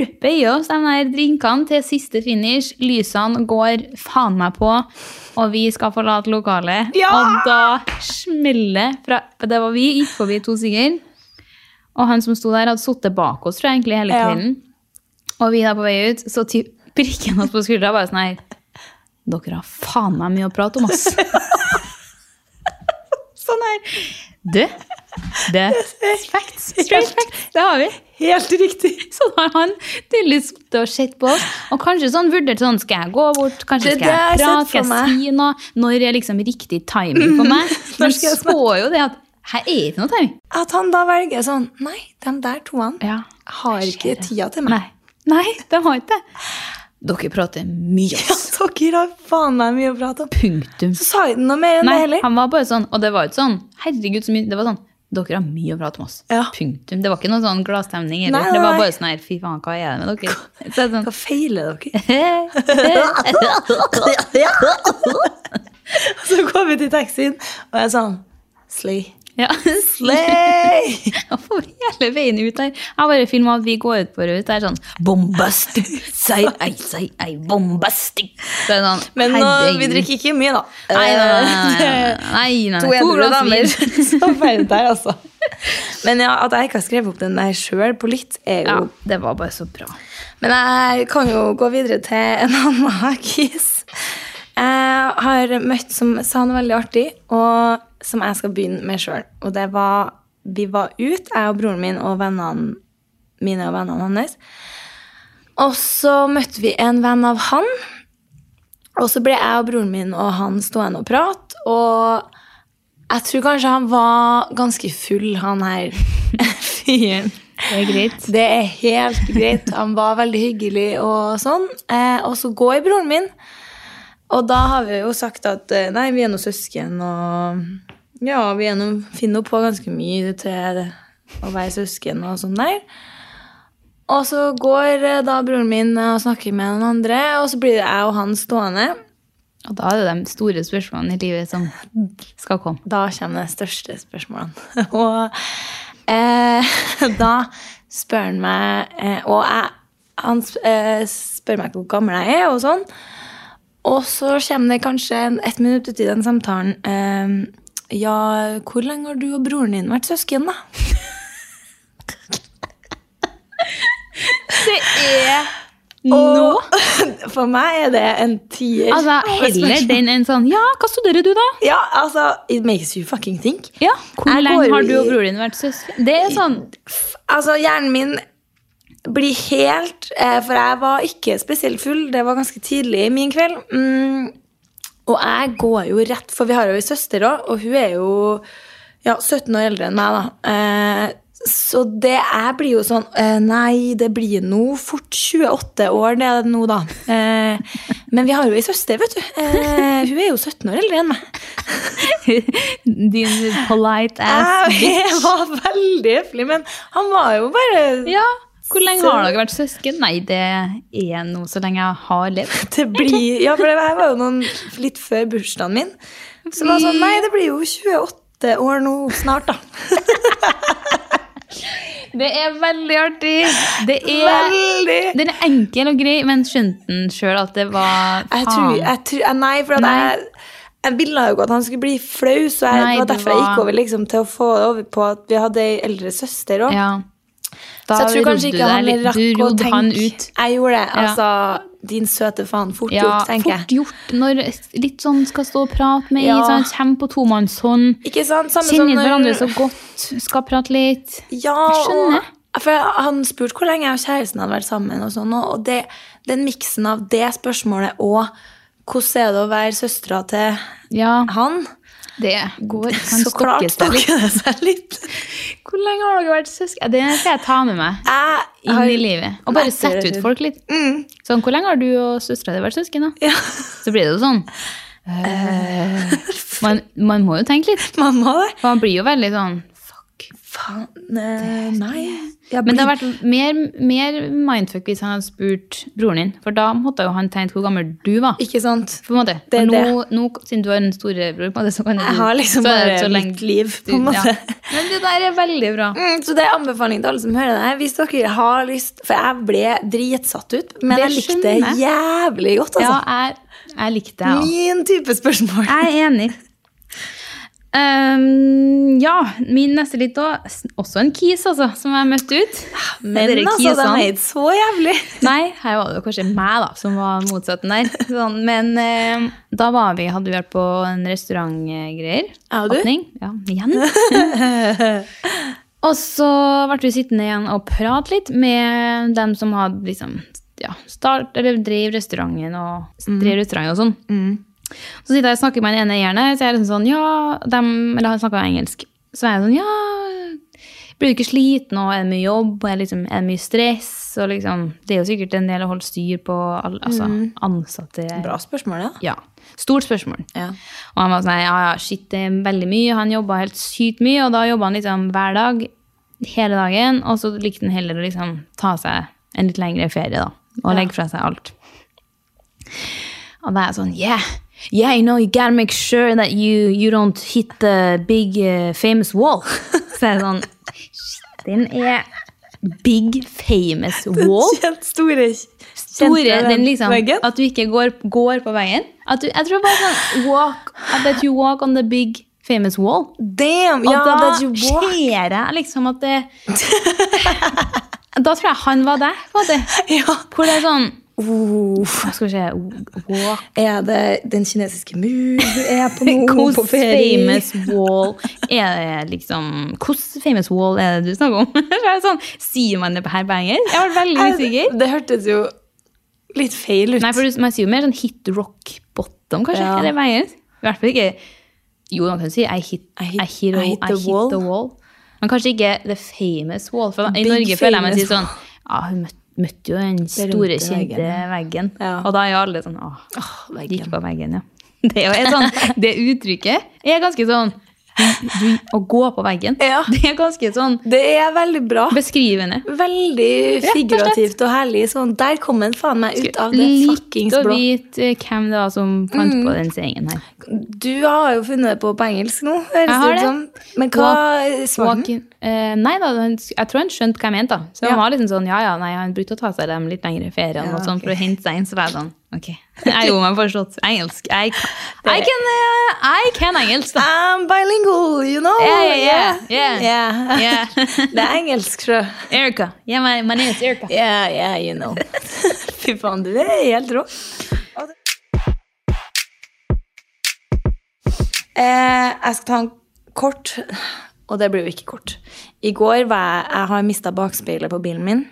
[SPEAKER 2] slurper i oss de der drinkene til siste finish. Lysene går faen meg på, og vi skal forlate lokalet.
[SPEAKER 3] Ja!
[SPEAKER 2] Og da smeller fra Det var vi, gikk forbi to stykker. Og han som sto der, hadde sittet bak oss tror jeg, egentlig hele
[SPEAKER 3] Ja.
[SPEAKER 2] kvelden. Og vi da på vei ut, så typ prikker han oss på skuldra bare sånn her Dere har faen meg mye å prate om,
[SPEAKER 3] [laughs]
[SPEAKER 2] ass. sånn her. Du, det Facts. Straight facts. Det har vi.
[SPEAKER 3] Helt riktig.
[SPEAKER 2] [laughs] Så da har han tydeligvis sittet og sett på oss, og kanskje sånn vurdert sånn, skal jeg gå bort, kanskje
[SPEAKER 3] Det
[SPEAKER 2] skal jeg
[SPEAKER 3] er det jeg
[SPEAKER 2] prate,
[SPEAKER 3] har sett
[SPEAKER 2] skal
[SPEAKER 3] for
[SPEAKER 2] jeg si noe, når er liksom riktig timing for
[SPEAKER 3] [laughs]
[SPEAKER 2] meg? Men
[SPEAKER 3] skal jeg
[SPEAKER 2] så jo det at, her er ikke noe timing.
[SPEAKER 3] At han da velger sånn Nei, de der toene
[SPEAKER 2] Ja.
[SPEAKER 3] har ikke tida til meg.
[SPEAKER 2] Nei, nei, det har ikke det. Dere prater mye,
[SPEAKER 3] Ja,
[SPEAKER 2] ass.
[SPEAKER 3] dere har faen meg mye å prate om.
[SPEAKER 2] Punktum.
[SPEAKER 3] Så sa jeg den noe mer enn det
[SPEAKER 2] Nei,
[SPEAKER 3] heller.
[SPEAKER 2] han var bare sånn, og det var jo ikke sånn, herregud, så mye, det var sånn, dere har mye å prate om oss.
[SPEAKER 3] Ja.
[SPEAKER 2] Punktum. Det var ikke noen sånn glasstemning, eller?
[SPEAKER 3] Nei, nei,
[SPEAKER 2] det var
[SPEAKER 3] nei.
[SPEAKER 2] bare sånn her, fy faen, hva er det med dere? Så det er sånn,
[SPEAKER 3] Hva feiler dere? [laughs] Så går vi til taxien, og jeg er sånn Slay.
[SPEAKER 2] [laughs] ja, [laughs]
[SPEAKER 3] Slay!
[SPEAKER 2] Og for hele veien ut der. Jeg bare filma at vi går ut på rødt. Det er sånn bombastic, sei, ei, sei, ei, bombastic. Så er det sånn,
[SPEAKER 3] Men nå, vi
[SPEAKER 2] herregud.
[SPEAKER 3] drikker ikke mye, da. Eh,
[SPEAKER 2] Nei, nei, nei. nei, nei, nei, nei.
[SPEAKER 3] To edru
[SPEAKER 2] glass [laughs]
[SPEAKER 3] damer
[SPEAKER 2] vin.
[SPEAKER 3] [laughs] som ferdig der, altså. Men ja, at jeg ikke har skrevet opp den der sjøl på litt, er jo
[SPEAKER 2] Ja, det var bare så bra.
[SPEAKER 3] Men jeg kan jo gå videre til en annen [laughs] kis. Jeg har møtt som sa noe veldig artig, og som jeg skal begynne med sjøl. Og det var Vi var ute, jeg og broren min og vennene mine og vennene hans. Og så møtte vi en venn av han. Og så ble jeg og broren min og han stående og prate. Og jeg tror kanskje han var ganske full, han her [laughs] fyren.
[SPEAKER 2] Det er greit.
[SPEAKER 3] Det er helt greit. Han var veldig hyggelig og sånn. Eh, og så går broren min. Og da har vi jo sagt at eh, nei, vi er noen søsken, og ja, vi er noen, finner jo på ganske mye til å være søsken og sånn der. Og så går eh, da broren min eh, og snakker med den andre, og så blir det jeg og han stående.
[SPEAKER 2] Og da er det de store spørsmålene i livet som skal komme.
[SPEAKER 3] Da kommer de største spørsmålene. [laughs] og eh, [laughs] da spør han meg eh, Og jeg, han sp- eh, spør meg hvor gammel jeg er, og sånn. Og så kommer det kanskje en- ett minutt uti den samtalen eh, Ja, hvor lenge har du og broren din vært søsken, da?
[SPEAKER 2] Det er
[SPEAKER 3] nå! For meg er det en tier.
[SPEAKER 2] Altså, heller den enn sånn Ja, hva studerer du, da?
[SPEAKER 3] Ja, altså, It makes you fucking think.
[SPEAKER 2] Ja, Hvor
[SPEAKER 3] Jeg
[SPEAKER 2] lenge
[SPEAKER 3] går
[SPEAKER 2] har
[SPEAKER 3] jo
[SPEAKER 2] du og
[SPEAKER 3] i-
[SPEAKER 2] broren din vært søsken? Det er sånn [laughs]
[SPEAKER 3] Altså, hjernen min blir helt eh, For jeg var ikke spesielt full. Det var ganske tidlig i min kveld. Mm, og jeg går jo rett For vi har jo en søster òg, og hun er jo ja, 17 år eldre enn meg, da. Eh, så det jeg blir jo sånn eh, Nei, det blir nå fort 28 år, det er det nå, da. Eh, men vi har jo ei søster, vet du. Eh, hun er jo 17 år eldre enn meg.
[SPEAKER 2] din polite ass
[SPEAKER 3] [laughs] Jeg
[SPEAKER 2] bitch.
[SPEAKER 3] Ah, var veldig høflig, men han var jo bare
[SPEAKER 2] Ja, Hvor lenge har dere vært søsken? Nei, det er nå så lenge jeg har levd.
[SPEAKER 3] det blir, ja, for det her var jo noen litt før bursdagen min. Så det var sånn, nei, det blir jo 28 år nå snart, da.
[SPEAKER 2] Det er veldig artig. Det er,
[SPEAKER 3] Veldig!
[SPEAKER 2] den er enkel og grei, men skjønte han sjøl at det var
[SPEAKER 3] Jeg tror,
[SPEAKER 2] faen?
[SPEAKER 3] jeg tror, Ah. nei, for at jeg, jeg ville jo ikke at han skulle bli flau, så jeg,
[SPEAKER 2] Nei,
[SPEAKER 3] det var
[SPEAKER 2] det
[SPEAKER 3] derfor jeg
[SPEAKER 2] var-
[SPEAKER 3] gikk over liksom, til å få det over på at vi hadde ei eldre søster òg.
[SPEAKER 2] Ja. Da
[SPEAKER 3] Så jeg tror kanskje
[SPEAKER 2] rodde
[SPEAKER 3] ikke
[SPEAKER 2] du
[SPEAKER 3] han
[SPEAKER 2] deg litt.
[SPEAKER 3] rakk
[SPEAKER 2] Du
[SPEAKER 3] å
[SPEAKER 2] rodde
[SPEAKER 3] tenke
[SPEAKER 2] han ut.
[SPEAKER 3] Jeg gjorde det.
[SPEAKER 2] Ja.
[SPEAKER 3] Altså, din søte faen. Fort
[SPEAKER 2] Ja,
[SPEAKER 3] gjort, tenker jeg.
[SPEAKER 2] fort gjort. Når litt sånn skal stå og prate med,
[SPEAKER 3] Ja.
[SPEAKER 2] sånn, kommer på tomannshånd.
[SPEAKER 3] Ikke sant? Samme som
[SPEAKER 2] Kjenner
[SPEAKER 3] når-
[SPEAKER 2] hverandre så godt, skal prate litt.
[SPEAKER 3] Ja,
[SPEAKER 2] Jeg skjønner.
[SPEAKER 3] og for han spurte hvor lenge jeg og kjæresten hadde vært sammen. Og sånn, og det, den miksen av det spørsmålet og hvordan er det å være søstera til
[SPEAKER 2] Ja,
[SPEAKER 3] han
[SPEAKER 2] det
[SPEAKER 3] [laughs]
[SPEAKER 2] går. Kan
[SPEAKER 3] Så klart
[SPEAKER 2] stokke seg litt.
[SPEAKER 3] stokker det seg litt.
[SPEAKER 2] [laughs] Hvor lenge har dere vært søsken? Ja, Det skal jeg ta med meg
[SPEAKER 3] Jeg
[SPEAKER 2] inn
[SPEAKER 3] har, Mm.
[SPEAKER 2] i livet. Og bare sette ut folk litt. Sånn, hvor lenge har du og søstera di vært søsken, da?
[SPEAKER 3] [laughs] Ja.
[SPEAKER 2] Så blir det jo sånn. eh, man, man må jo tenke litt.
[SPEAKER 3] Mamma, det.
[SPEAKER 2] For man blir jo veldig sånn Fuck.
[SPEAKER 3] Faen, eh, nei. Jeg
[SPEAKER 2] Men det
[SPEAKER 3] blir-
[SPEAKER 2] hadde vært mer, mer mindfuck hvis han hadde spurt broren din. For da måtte jo han tenkt hvor gammel du var.
[SPEAKER 3] Ikke sant?
[SPEAKER 2] På en måte.
[SPEAKER 3] Det er
[SPEAKER 2] For nå, nå, siden du har en storebror, på en måte, så kan du
[SPEAKER 3] Jeg har liksom
[SPEAKER 2] så er det
[SPEAKER 3] bare
[SPEAKER 2] så lenge
[SPEAKER 3] mitt liv, på
[SPEAKER 2] du-
[SPEAKER 3] en måte.
[SPEAKER 2] Ja. Men det der er veldig bra.
[SPEAKER 3] Mm, så det er anbefaling til alle som hører det her. Hvis dere har lyst For jeg ble dritsatt ut, men
[SPEAKER 2] Det
[SPEAKER 3] jeg likte det
[SPEAKER 2] skjønner jeg.
[SPEAKER 3] jævlig godt,
[SPEAKER 2] Ja,
[SPEAKER 3] altså.
[SPEAKER 2] jeg, jeg likte det, jeg òg.
[SPEAKER 3] Min type spørsmål.
[SPEAKER 2] Jeg er enig. Ehm, ja, min neste litt òg. Også en kis, altså, som jeg møtte ut.
[SPEAKER 3] Men
[SPEAKER 2] Dere
[SPEAKER 3] altså,
[SPEAKER 2] kisene.
[SPEAKER 3] de er ikke så
[SPEAKER 2] [laughs]
[SPEAKER 3] jævlig.
[SPEAKER 2] Nei, her var det jo kanskje meg da, som var motsatten der. Sånn, men eh, da var vi, hadde vi vært på en restaurantgreier.
[SPEAKER 3] Ja, du?
[SPEAKER 2] Åpning. Ja, igjen.
[SPEAKER 3] [laughs]
[SPEAKER 2] og så ble vi sittende igjen og prate litt med dem som hadde liksom, ja, start, eller drev restauranten og,
[SPEAKER 3] Mm.
[SPEAKER 2] drev restauranten og sånn. Så sitter jeg og snakker med den ene eieren her, så jeg er liksom sånn, ja, dem, eller han snakker engelsk. Så er jeg sånn, ja, blir du ikke sliten, og er det mye jobb, og er det, liksom, er det mye stress, og liksom, det er jo sikkert en del å holde styr på, al- altså, ansatte.
[SPEAKER 3] Bra spørsmål, ja.
[SPEAKER 2] Ja, stort spørsmål.
[SPEAKER 3] Ja.
[SPEAKER 2] Og han var sånn, ja, ja, shit, det er veldig mye, han jobbet helt sykt mye, og da jobbet han liksom hver dag, hele dagen, og så likte han heller å liksom ta seg en litt lengre ferie da, og legge fra seg alt. Og da er jeg sånn, yeah, yeah, you know, you gotta make sure that you, you don't hit the big eh, famous wall. [laughs] Så jeg er sånn, shit, den er big famous wall.
[SPEAKER 3] Kjent store
[SPEAKER 2] Store, den liksom,
[SPEAKER 3] veggen.
[SPEAKER 2] at du ikke går, går på veien. At du, jeg tror bare sånn, walk, that you walk on the big famous wall.
[SPEAKER 3] Damn!
[SPEAKER 2] Og
[SPEAKER 3] Ja,
[SPEAKER 2] da
[SPEAKER 3] that you walk.
[SPEAKER 2] ser jeg liksom at det... Da tror jeg han var deg, var det.
[SPEAKER 3] Ja.
[SPEAKER 2] Hvor det er sånn, hva skal vi se, walk
[SPEAKER 3] [laughs] Er det den kinesiske mur du er [laughs] på nå?
[SPEAKER 2] Hvordan
[SPEAKER 3] på ferie?
[SPEAKER 2] famous wall er det liksom Hvordan famous wall er det du snakker om? [laughs] Så er det sånn, Sier man det her på engelsk? Jeg var veldig usikker.
[SPEAKER 3] Det hørtes jo litt feil ut.
[SPEAKER 2] Nei, for du- man sier jo mer sånn hit rock bottom, kanskje?
[SPEAKER 3] Ja.
[SPEAKER 2] Er det på engelsk? I hvert fall ikke Jo, man kan si I hit, I hit, I hit, the, wall. Men kanskje ikke the famous wall. For I
[SPEAKER 3] Big
[SPEAKER 2] Norge føler jeg man
[SPEAKER 3] famous
[SPEAKER 2] sier sånn Ja, hun møtte møtte jo den store,
[SPEAKER 3] runde
[SPEAKER 2] kjente veggen.
[SPEAKER 3] Ja.
[SPEAKER 2] Og da er jo alle sånn Åh,
[SPEAKER 3] Åh,
[SPEAKER 2] [laughs]
[SPEAKER 3] veggen.
[SPEAKER 2] gikk på veggen, ja. Det, er jo et sånn, det uttrykket er ganske sånn Du, å gå på veggen. Det er ganske sånn
[SPEAKER 3] Det er veldig bra.
[SPEAKER 2] Beskrivende.
[SPEAKER 3] Veldig
[SPEAKER 2] og slett.
[SPEAKER 3] figurativt og herlig. Sånn, der kom den faen meg ut av det fuckings
[SPEAKER 2] Litt å
[SPEAKER 3] blå.
[SPEAKER 2] vite eh, hvem det var som fant
[SPEAKER 3] Mm.
[SPEAKER 2] på den seingen her.
[SPEAKER 3] Du har jo funnet det på på engelsk nå, høres
[SPEAKER 2] Jeg har
[SPEAKER 3] det ut
[SPEAKER 2] det.
[SPEAKER 3] som. Men hva svarte han?
[SPEAKER 2] Eh, nei da, han- jeg tror han skjønte hva jeg mente. da. Så han var liksom sånn, ja ja, nei, han brukte å ta seg dem litt lengre feriene
[SPEAKER 3] Ja,
[SPEAKER 2] og sånn for å hente seg inn. Så var jeg sånn, ok, jeg gjorde meg forstått engelsk. Jeg kan, jeg kan, eh, jeg kan engelsk da.
[SPEAKER 3] I'm bilingual, you know.
[SPEAKER 2] Ja, ja, ja, ja.
[SPEAKER 3] Yeah.
[SPEAKER 2] Yeah.
[SPEAKER 3] Ah. [laughs] det er engelsk, sjø.
[SPEAKER 2] Erica. Yeah, my, my name is Erica.
[SPEAKER 3] Yeah, yeah, you know. [laughs] Fy faen, du er helt rå. Eh, jeg skal ta en kort, og det blir jo ikke kort. I går var jeg, jeg har mista bakspeilet på bilen min.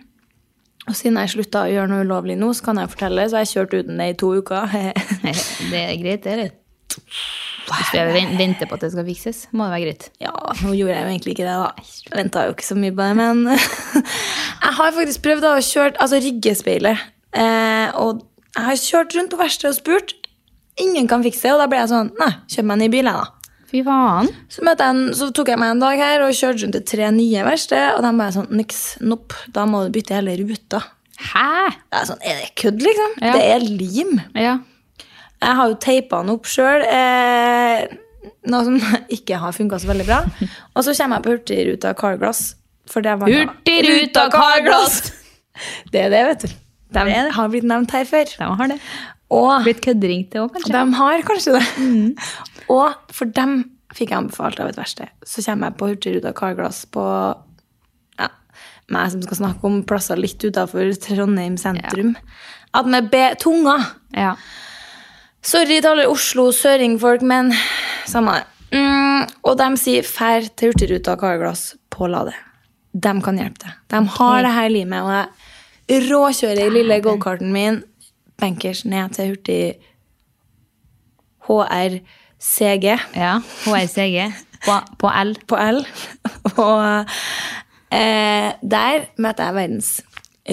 [SPEAKER 3] Og siden jeg slutta å gjøre noe ulovlig nå, så kan jeg fortelle, så har jeg kjørt uten det i to
[SPEAKER 2] [laughs]
[SPEAKER 3] uker. [laughs]
[SPEAKER 2] Det er greit, det, eller? Hvis vi ven- venter på at det skal fikses, må det være greit.
[SPEAKER 3] Ja, nå gjorde jeg jo egentlig ikke det, da. Venta jo ikke så mye på det, men [laughs] Jeg har faktisk prøvd da, å kjøre altså ryggespeilet. Eh, og jeg har kjørt rundt på verkstedet og spurt. Ingen kan fikse det, og da ble jeg sånn Nei, kjøp meg en ny bil, jeg, da.
[SPEAKER 2] Fy faen.
[SPEAKER 3] Så, møtte jeg en, så tok jeg meg en dag her og kjørte rundt til tre nye verksted, og de bare sånn Niks, nopp, da må du bytte hele ruta.
[SPEAKER 2] Hæ?
[SPEAKER 3] Det er sånn, er det kødd, liksom?
[SPEAKER 2] Ja.
[SPEAKER 3] Det er lim.
[SPEAKER 2] Ja.
[SPEAKER 3] Jeg har jo teipa den opp sjøl. Eh, noe som [laughs] ikke har funka så veldig bra. Og så kommer jeg på Hurtigruta Carglass. For det var
[SPEAKER 2] Hurtigruta Carglass!
[SPEAKER 3] [laughs] Det er det, vet du. De har blitt nevnt her før.
[SPEAKER 2] De har det.
[SPEAKER 3] Og Mm.
[SPEAKER 2] Blitt kødderingt det òg, kanskje?
[SPEAKER 3] de har kanskje det. [laughs] Og for dem fikk jeg anbefalt av et verksted. Så kommer jeg på Hurtigruta Carglass på ja, meg som skal snakke om plasser litt utafor Trondheim sentrum. At med be tunga
[SPEAKER 2] Ja.
[SPEAKER 3] Sorry til alle Oslo-søringfolk, men samme det. Mm, og de sier fær til Hurtigruta Carglass på Lade. De kan hjelpe deg. De har det her limet, og jeg råkjører i lille goldkarten min bankers ned til Hurtig HRCG
[SPEAKER 2] Ja, HRCG på, på L.
[SPEAKER 3] på L. [laughs] Og eh, der møter jeg verdens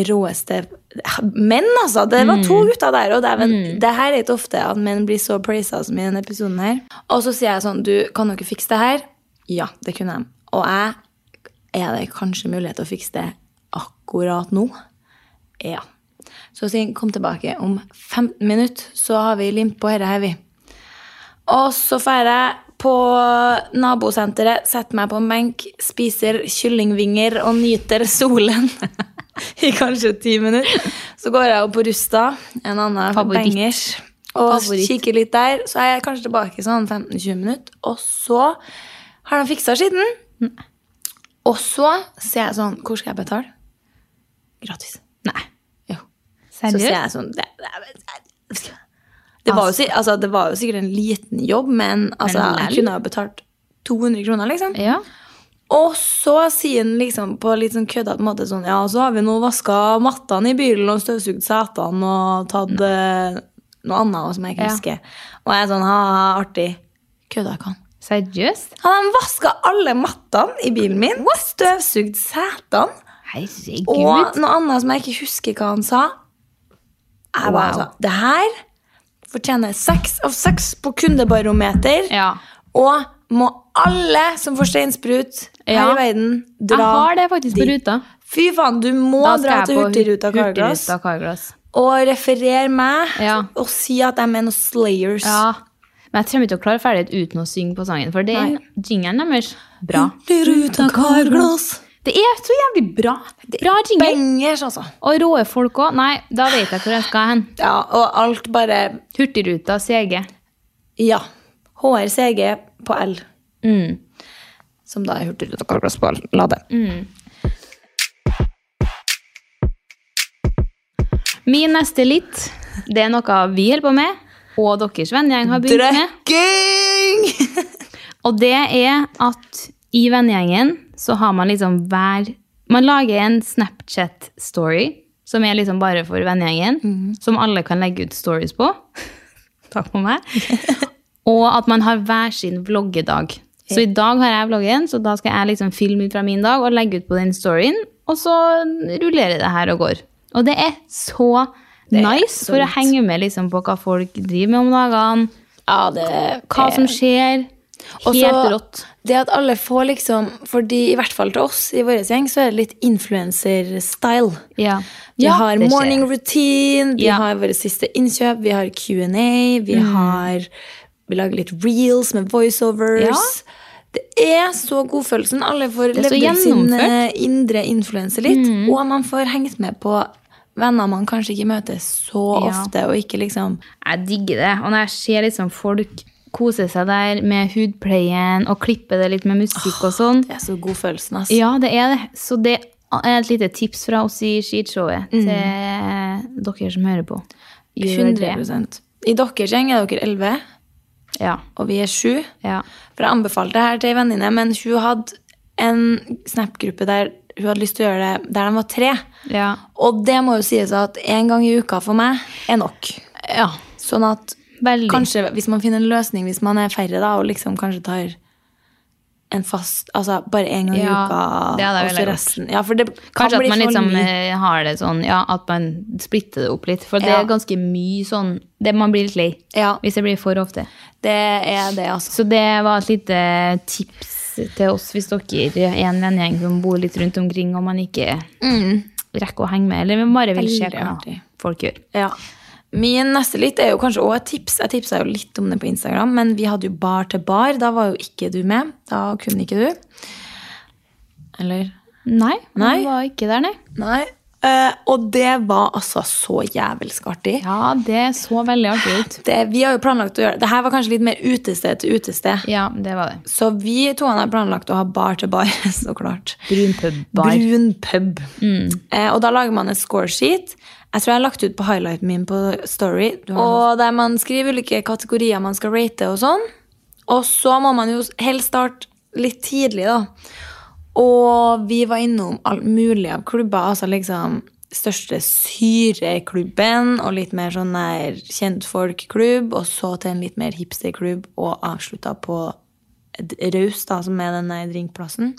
[SPEAKER 3] råeste menn, altså. Det var to gutter der. Og det, er, vel- det her er ikke ofte at menn blir så praisa som i denne episoden her. Og så sier jeg sånn Du, kan dere fikse det her? Ja, det kunne jeg. Og jeg Er det kanskje mulighet til å fikse det akkurat nå? Ja. Så sier han kom tilbake om 15 minutter, så har vi limt på dette her, vi. Og så drar jeg på nabosenteret, setter meg på en benk, spiser kyllingvinger og nyter solen [laughs] i kanskje ti minutter. Så går jeg opp på Rusta, en annen
[SPEAKER 2] Favoritt.
[SPEAKER 3] bangers, og
[SPEAKER 2] Favoritt.
[SPEAKER 3] kikker litt der. Så er jeg kanskje tilbake i sånn 15-20 minutter, og så har de fiksa skitten. Og så sier jeg sånn Hvor skal jeg betale? Gratis.
[SPEAKER 2] Nei.
[SPEAKER 3] Jo. Så sier
[SPEAKER 2] Seriøst?
[SPEAKER 3] jeg sånn det, det, det, var jo, si- altså, det var jo sikkert en liten jobb, men altså,
[SPEAKER 2] Men lell.
[SPEAKER 3] jeg kunne ha betalt 200 kroner, liksom.
[SPEAKER 2] Ja.
[SPEAKER 3] Og så sier han liksom på litt sånn køddete måte sånn Ja, og så har vi nå vaska mattene i bilen og støvsugd setene og tatt eh, noe annet som jeg ikke
[SPEAKER 2] Mm. Ja.
[SPEAKER 3] husker. Og jeg er sånn ha-ha, artig. Kødda ikke han.
[SPEAKER 2] Seriøst?
[SPEAKER 3] Han vaska alle mattene i bilen min, støvsugd setene. Og
[SPEAKER 2] Herregud.
[SPEAKER 3] noe annet som jeg ikke husker hva han sa. Jeg bare
[SPEAKER 2] Wow.
[SPEAKER 3] sa Det her fortjener seks av seks på kundebarometer.
[SPEAKER 2] Ja.
[SPEAKER 3] Og må alle som får steinsprut her
[SPEAKER 2] Ja.
[SPEAKER 3] i verden, dra
[SPEAKER 2] Jeg har det faktisk på
[SPEAKER 3] dit.
[SPEAKER 2] ruta.
[SPEAKER 3] Fy faen, du må
[SPEAKER 2] Da
[SPEAKER 3] dra
[SPEAKER 2] skal jeg
[SPEAKER 3] til
[SPEAKER 2] på
[SPEAKER 3] Hurtigruta Carglass
[SPEAKER 2] Hurtigruta Carglass.
[SPEAKER 3] og referere meg
[SPEAKER 2] Ja.
[SPEAKER 3] og si at jeg er noen slayers.
[SPEAKER 2] Ja. Men jeg kommer ikke til å klare ferdighet uten å synge på sangen, for det er
[SPEAKER 3] Nei. Mm.
[SPEAKER 2] jingeren deres. Bra.
[SPEAKER 3] Hurtigruta Carglass.
[SPEAKER 2] Det er så jævlig bra. Bra jingle.
[SPEAKER 3] Bangers, altså.
[SPEAKER 2] Og rå folk òg. Nei, da vet jeg hvor jeg skal hen.
[SPEAKER 3] Ja, og alt bare
[SPEAKER 2] Hurtigruta CG.
[SPEAKER 3] Ja. HRCG på L.
[SPEAKER 2] Mm.
[SPEAKER 3] Som da er Hurtigruta Carglass på L. La det.
[SPEAKER 2] Min neste litt, det er noe vi holder på med, og deres vennegjeng har begynt med.
[SPEAKER 3] Drøkking!
[SPEAKER 2] Og det er at i vennegjengen så har man liksom hver Man lager en Snapchat-story som er liksom bare for vennegjengen,
[SPEAKER 3] Mhm.
[SPEAKER 2] som alle kan legge ut stories på. [laughs] Takk for
[SPEAKER 3] [laughs]
[SPEAKER 2] meg. Og at man har hver sin vloggedag. Så i dag har jeg vloggen, så da skal jeg liksom filme ut fra min dag og legge ut på den storyen. Og så rullerer det her og går. Og det er så nice for å henge med liksom på hva folk driver med om dagene,
[SPEAKER 3] Ja, det
[SPEAKER 2] hva som skjer.
[SPEAKER 3] Og så
[SPEAKER 2] Helt rått.
[SPEAKER 3] Det at alle får liksom Fordi i hvert fall til oss i vår gjeng, så er det litt influencer-style.
[SPEAKER 2] Ja.
[SPEAKER 3] Vi
[SPEAKER 2] Ja,
[SPEAKER 3] har
[SPEAKER 2] det skjer.
[SPEAKER 3] morning routine, vi
[SPEAKER 2] Ja. Mm.
[SPEAKER 3] har våre siste innkjøp, vi har Q&A, vi har Vi lager litt reels med voiceovers. Det er så godfølelsen. Alle får
[SPEAKER 2] Det er så
[SPEAKER 3] levd ut sin
[SPEAKER 2] gjennomført. Mm.
[SPEAKER 3] eh, indre influense litt. Og man får hengt med på venner man kanskje ikke møter så
[SPEAKER 2] Ja.
[SPEAKER 3] ofte, og ikke liksom
[SPEAKER 2] Jeg digger det. Og når jeg ser liksom folk kose seg der med hudpleien og klippe det litt med musikk og sånn
[SPEAKER 3] Det er så godfølelsen, ass.
[SPEAKER 2] Ja, det er det. Så det er et lite tips fra oss i
[SPEAKER 3] Mm.
[SPEAKER 2] skishowet til dere som hører på. Gjør det.
[SPEAKER 3] 100 I deres gjeng er dere 11,
[SPEAKER 2] Ja.
[SPEAKER 3] og vi er 7.
[SPEAKER 2] ja.
[SPEAKER 3] For jeg anbefalte det her til en venninne, men hun hadde en Snap-gruppe der hun hadde lyst til å gjøre det der de var tre.
[SPEAKER 2] Ja.
[SPEAKER 3] Og det må jo sies at én gang i uka for meg er nok.
[SPEAKER 2] ja.
[SPEAKER 3] Sånn at
[SPEAKER 2] Veldig.
[SPEAKER 3] kanskje hvis man finner en løsning hvis man er færre, da, og liksom kanskje tar en fast Altså bare én gang i
[SPEAKER 2] Ja,
[SPEAKER 3] uka,
[SPEAKER 2] det hadde jeg
[SPEAKER 3] og
[SPEAKER 2] vel
[SPEAKER 3] så
[SPEAKER 2] gjort.
[SPEAKER 3] resten. Ja, for det kan
[SPEAKER 2] Kanskje at
[SPEAKER 3] bli
[SPEAKER 2] man
[SPEAKER 3] for
[SPEAKER 2] liksom
[SPEAKER 3] mye.
[SPEAKER 2] eh, har det sånn, ja, at man splitter det opp litt. For det
[SPEAKER 3] Ja.
[SPEAKER 2] er ganske mye sånn det, Man blir litt lei
[SPEAKER 3] Ja,
[SPEAKER 2] hvis det blir for ofte.
[SPEAKER 3] det er det, altså.
[SPEAKER 2] Så det var et lite tips til oss hvis dere er en vennegjeng som bor litt rundt omkring og man ikke Mm. rekker å henge med, eller man bare vil se
[SPEAKER 3] Veldig
[SPEAKER 2] hva
[SPEAKER 3] artig.
[SPEAKER 2] folk gjør.
[SPEAKER 3] Ja. Min neste litt er jo kanskje også et tips. Jeg tipsa jo litt om det på Instagram, men vi hadde jo bar til bar. Da var jo ikke du med. Da kunne ikke du. Eller?
[SPEAKER 2] Nei,
[SPEAKER 3] Nei.
[SPEAKER 2] han var ikke der, nei.
[SPEAKER 3] Nei. Eh, og det var altså så jævelsk artig.
[SPEAKER 2] Ja, det så veldig artig ut.
[SPEAKER 3] Det, vi har jo planlagt å gjøre Det her var kanskje litt mer utested til utested.
[SPEAKER 2] Ja, det var det.
[SPEAKER 3] Så vi to har planlagt å ha bar [laughs] til bar, så klart.
[SPEAKER 2] Brun pub-bar.
[SPEAKER 3] Brun pub. Eh, og da lager man et score sheet. Jeg tror jeg har lagt ut på highlighten min på Story. Og der man skriver ulike kategorier man skal rate og sånn. Og så må man jo helst starte litt tidlig, da. Og vi var innom alt mulig av klubber. Altså liksom største syreklubben og litt mer sånn der kjentfolkklubb. Og så til en litt mer hipsterklubb og avslutta på D- Raus, da, som er den der drinkplassen.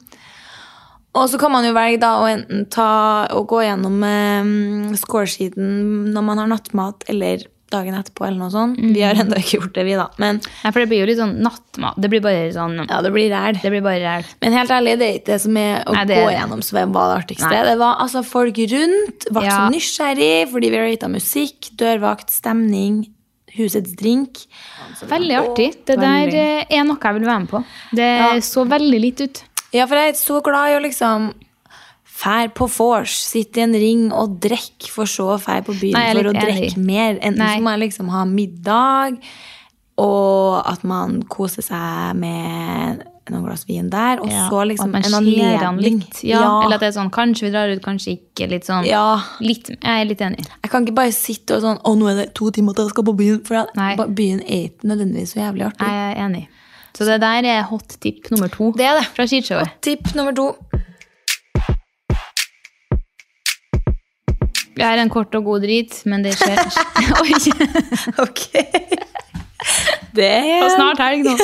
[SPEAKER 3] Og så kan man jo velge da å enten ta og gå gjennom eh, scoresheeten når man har nattmat, eller dagen etterpå, eller noe sånt. Vi
[SPEAKER 2] Mhm.
[SPEAKER 3] har ennå ikke gjort det, vi, da. Men
[SPEAKER 2] Nei, for det blir jo litt sånn nattmat. Det blir bare sånn
[SPEAKER 3] ja, det blir ræl.
[SPEAKER 2] Det blir bare ræl.
[SPEAKER 3] Men helt ærlig, det er ikke det som er å
[SPEAKER 2] Nei, det
[SPEAKER 3] gå
[SPEAKER 2] er det.
[SPEAKER 3] gjennom som var det artigste.
[SPEAKER 2] Nei.
[SPEAKER 3] Det var altså folk rundt, ble så
[SPEAKER 2] Ja.
[SPEAKER 3] nysgjerrig fordi vi rata musikk, dørvakt, stemning, husets drink.
[SPEAKER 2] Veldig artig. Det der eh, er noe jeg vil være med på. Det
[SPEAKER 3] Ja.
[SPEAKER 2] så veldig litt ut.
[SPEAKER 3] Ja, for jeg er så glad i å liksom Fær på vors, sitte i en ring og drikk, for så å fær på byen
[SPEAKER 2] Nei, jeg er
[SPEAKER 3] for å
[SPEAKER 2] litt enig.
[SPEAKER 3] drikke mer. Enten
[SPEAKER 2] Nei.
[SPEAKER 3] så må jeg liksom ha middag, og at man koser seg med noen glass vin der, og så
[SPEAKER 2] at
[SPEAKER 3] liksom
[SPEAKER 2] man
[SPEAKER 3] en
[SPEAKER 2] skjer an
[SPEAKER 3] anledning.
[SPEAKER 2] litt. Ja. Eller at det er sånn kanskje vi drar ut, kanskje ikke. Litt sånn
[SPEAKER 3] Ja.
[SPEAKER 2] litt, Jeg er litt enig.
[SPEAKER 3] Jeg kan ikke bare sitte og sånn Å, nå er det to timer til jeg skal på byen. For at
[SPEAKER 2] Nei.
[SPEAKER 3] ba- byen er ikke nødvendigvis så jævlig artig.
[SPEAKER 2] Jeg er enig. Så det der er hot tip nummer to
[SPEAKER 3] Det er det.
[SPEAKER 2] fra skishowet.
[SPEAKER 3] Tipp
[SPEAKER 2] [laughs]
[SPEAKER 3] nummer to.
[SPEAKER 2] Jeg er en kort og god drit, men det skjer
[SPEAKER 3] [laughs]
[SPEAKER 2] Oi!
[SPEAKER 3] Ok. Det
[SPEAKER 2] Det
[SPEAKER 3] er
[SPEAKER 2] var snart helg nå.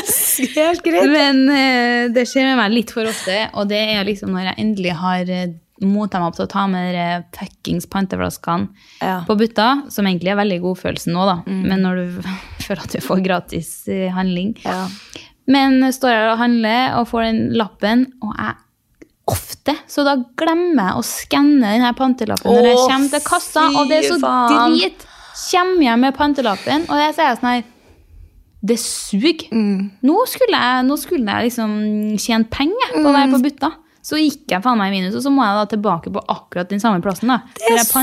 [SPEAKER 3] helt greit.
[SPEAKER 2] Men eh, det skjer med meg litt for ofte, og det er liksom når jeg endelig har eh, mota meg opp til å ta med de fuckings panteflaskene
[SPEAKER 3] Ja. Mm.
[SPEAKER 2] på butta, som egentlig er veldig godfølelse nå, da, men når du [laughs] føler at du får gratis eh, handling.
[SPEAKER 3] Ja.
[SPEAKER 2] Men står jeg og handler og får den lappen, og jeg ofte, så da glemmer jeg å skanne den her pantelappen når jeg
[SPEAKER 3] Å,
[SPEAKER 2] kommer til kassa, og det er så
[SPEAKER 3] fy faen.
[SPEAKER 2] drit. Kommer jeg med pantelappen, og jeg sier sånn her det suger.
[SPEAKER 3] Mm.
[SPEAKER 2] Nå, skulle jeg, nå skulle jeg liksom tjene penger på å være
[SPEAKER 3] Mm.
[SPEAKER 2] på butta. Så gikk jeg faen meg i minus, og så må jeg da tilbake på akkurat den samme plassen. da.
[SPEAKER 3] Det er så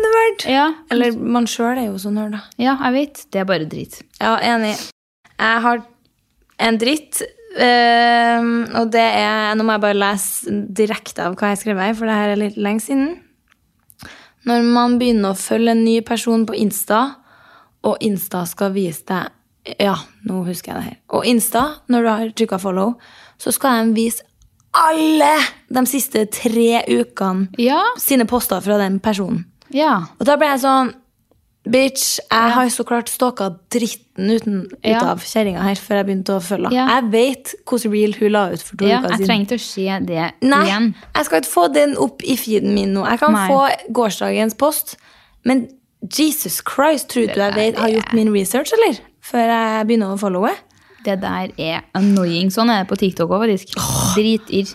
[SPEAKER 3] nerd.
[SPEAKER 2] Ja,
[SPEAKER 3] Eller man sjøl er jo så nerd, da.
[SPEAKER 2] ja, jeg vet. Det er bare drit.
[SPEAKER 3] Ja, enig. Jeg har en dritt. ehm, og det er Nå må jeg bare lese direkte av hva jeg skrev her, for det her er litt lenge siden. Når man begynner å følge en ny person på Insta, og Insta skal vise deg Ja, nå husker jeg det her. Og Insta, når du har trykka follow, så skal de vise alle de siste tre ukene
[SPEAKER 2] Ja.
[SPEAKER 3] sine poster fra den personen.
[SPEAKER 2] Ja.
[SPEAKER 3] Og da ble jeg sånn Bitch, jeg har så klart stalka dritten uten, ut
[SPEAKER 2] Ja.
[SPEAKER 3] av kjerringa her før jeg begynte å følge henne.
[SPEAKER 2] Ja.
[SPEAKER 3] Jeg vet hvordan reel hun la ut for to
[SPEAKER 2] ja
[SPEAKER 3] uker
[SPEAKER 2] jeg
[SPEAKER 3] siden.
[SPEAKER 2] trengte å se det
[SPEAKER 3] Nei,
[SPEAKER 2] igjen.
[SPEAKER 3] jeg skal ikke få den opp i feeden min nå. Jeg kan
[SPEAKER 2] Nei.
[SPEAKER 3] få gårsdagens post, men Jesus Christ, tror du jeg vet, har gjort min research, eller? Før jeg begynner å followe?
[SPEAKER 2] Det der er annoying. Sånn er det på TikTok òg, faktisk. Dritirr.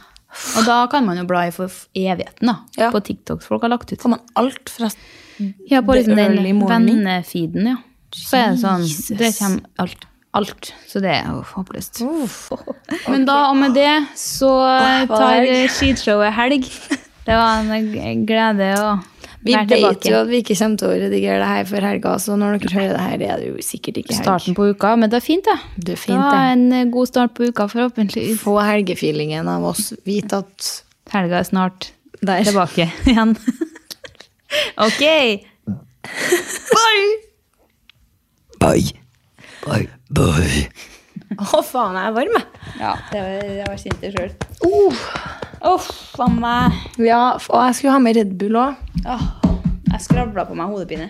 [SPEAKER 2] Og da kan man jo bla i for f- evigheten, da. På TikToks folk har lagt ut.
[SPEAKER 3] Får man alt fra
[SPEAKER 2] Ja, på
[SPEAKER 3] the
[SPEAKER 2] liksom den
[SPEAKER 3] early morning?
[SPEAKER 2] vennefeeden, ja. Så er det sånn
[SPEAKER 3] Jesus.
[SPEAKER 2] Det kommer alt. Alt. Så det er jo håpløst. Men da, og med det, så
[SPEAKER 3] Åh, hva
[SPEAKER 2] tar
[SPEAKER 3] er det?
[SPEAKER 2] skishowet helg. Det var en g- glede å
[SPEAKER 3] Vi
[SPEAKER 2] være
[SPEAKER 3] vet
[SPEAKER 2] tilbake.
[SPEAKER 3] jo at vi ikke kommer til å redigere det her før helga, så når dere hører det her, er det jo sikkert ikke helg.
[SPEAKER 2] Starten på uka, men det er fint, det.
[SPEAKER 3] Det er
[SPEAKER 2] Det
[SPEAKER 3] fint,
[SPEAKER 2] var
[SPEAKER 3] det.
[SPEAKER 2] en eh, god start på uka, forhåpentligvis.
[SPEAKER 3] Få helgefeelingen av oss. Vit at
[SPEAKER 2] Helga er snart
[SPEAKER 3] Der.
[SPEAKER 2] tilbake [laughs] igjen. ok!
[SPEAKER 3] Bye!
[SPEAKER 4] Bye. Bye. Bye.
[SPEAKER 3] Å, faen, jeg er varm, jeg.
[SPEAKER 2] Ja, det var, det var kjent det sjøl. Uff, a meg.
[SPEAKER 3] Ja, f- og jeg skulle ha med Red Bull òg.
[SPEAKER 2] Åh, jeg skravla på meg hodepine.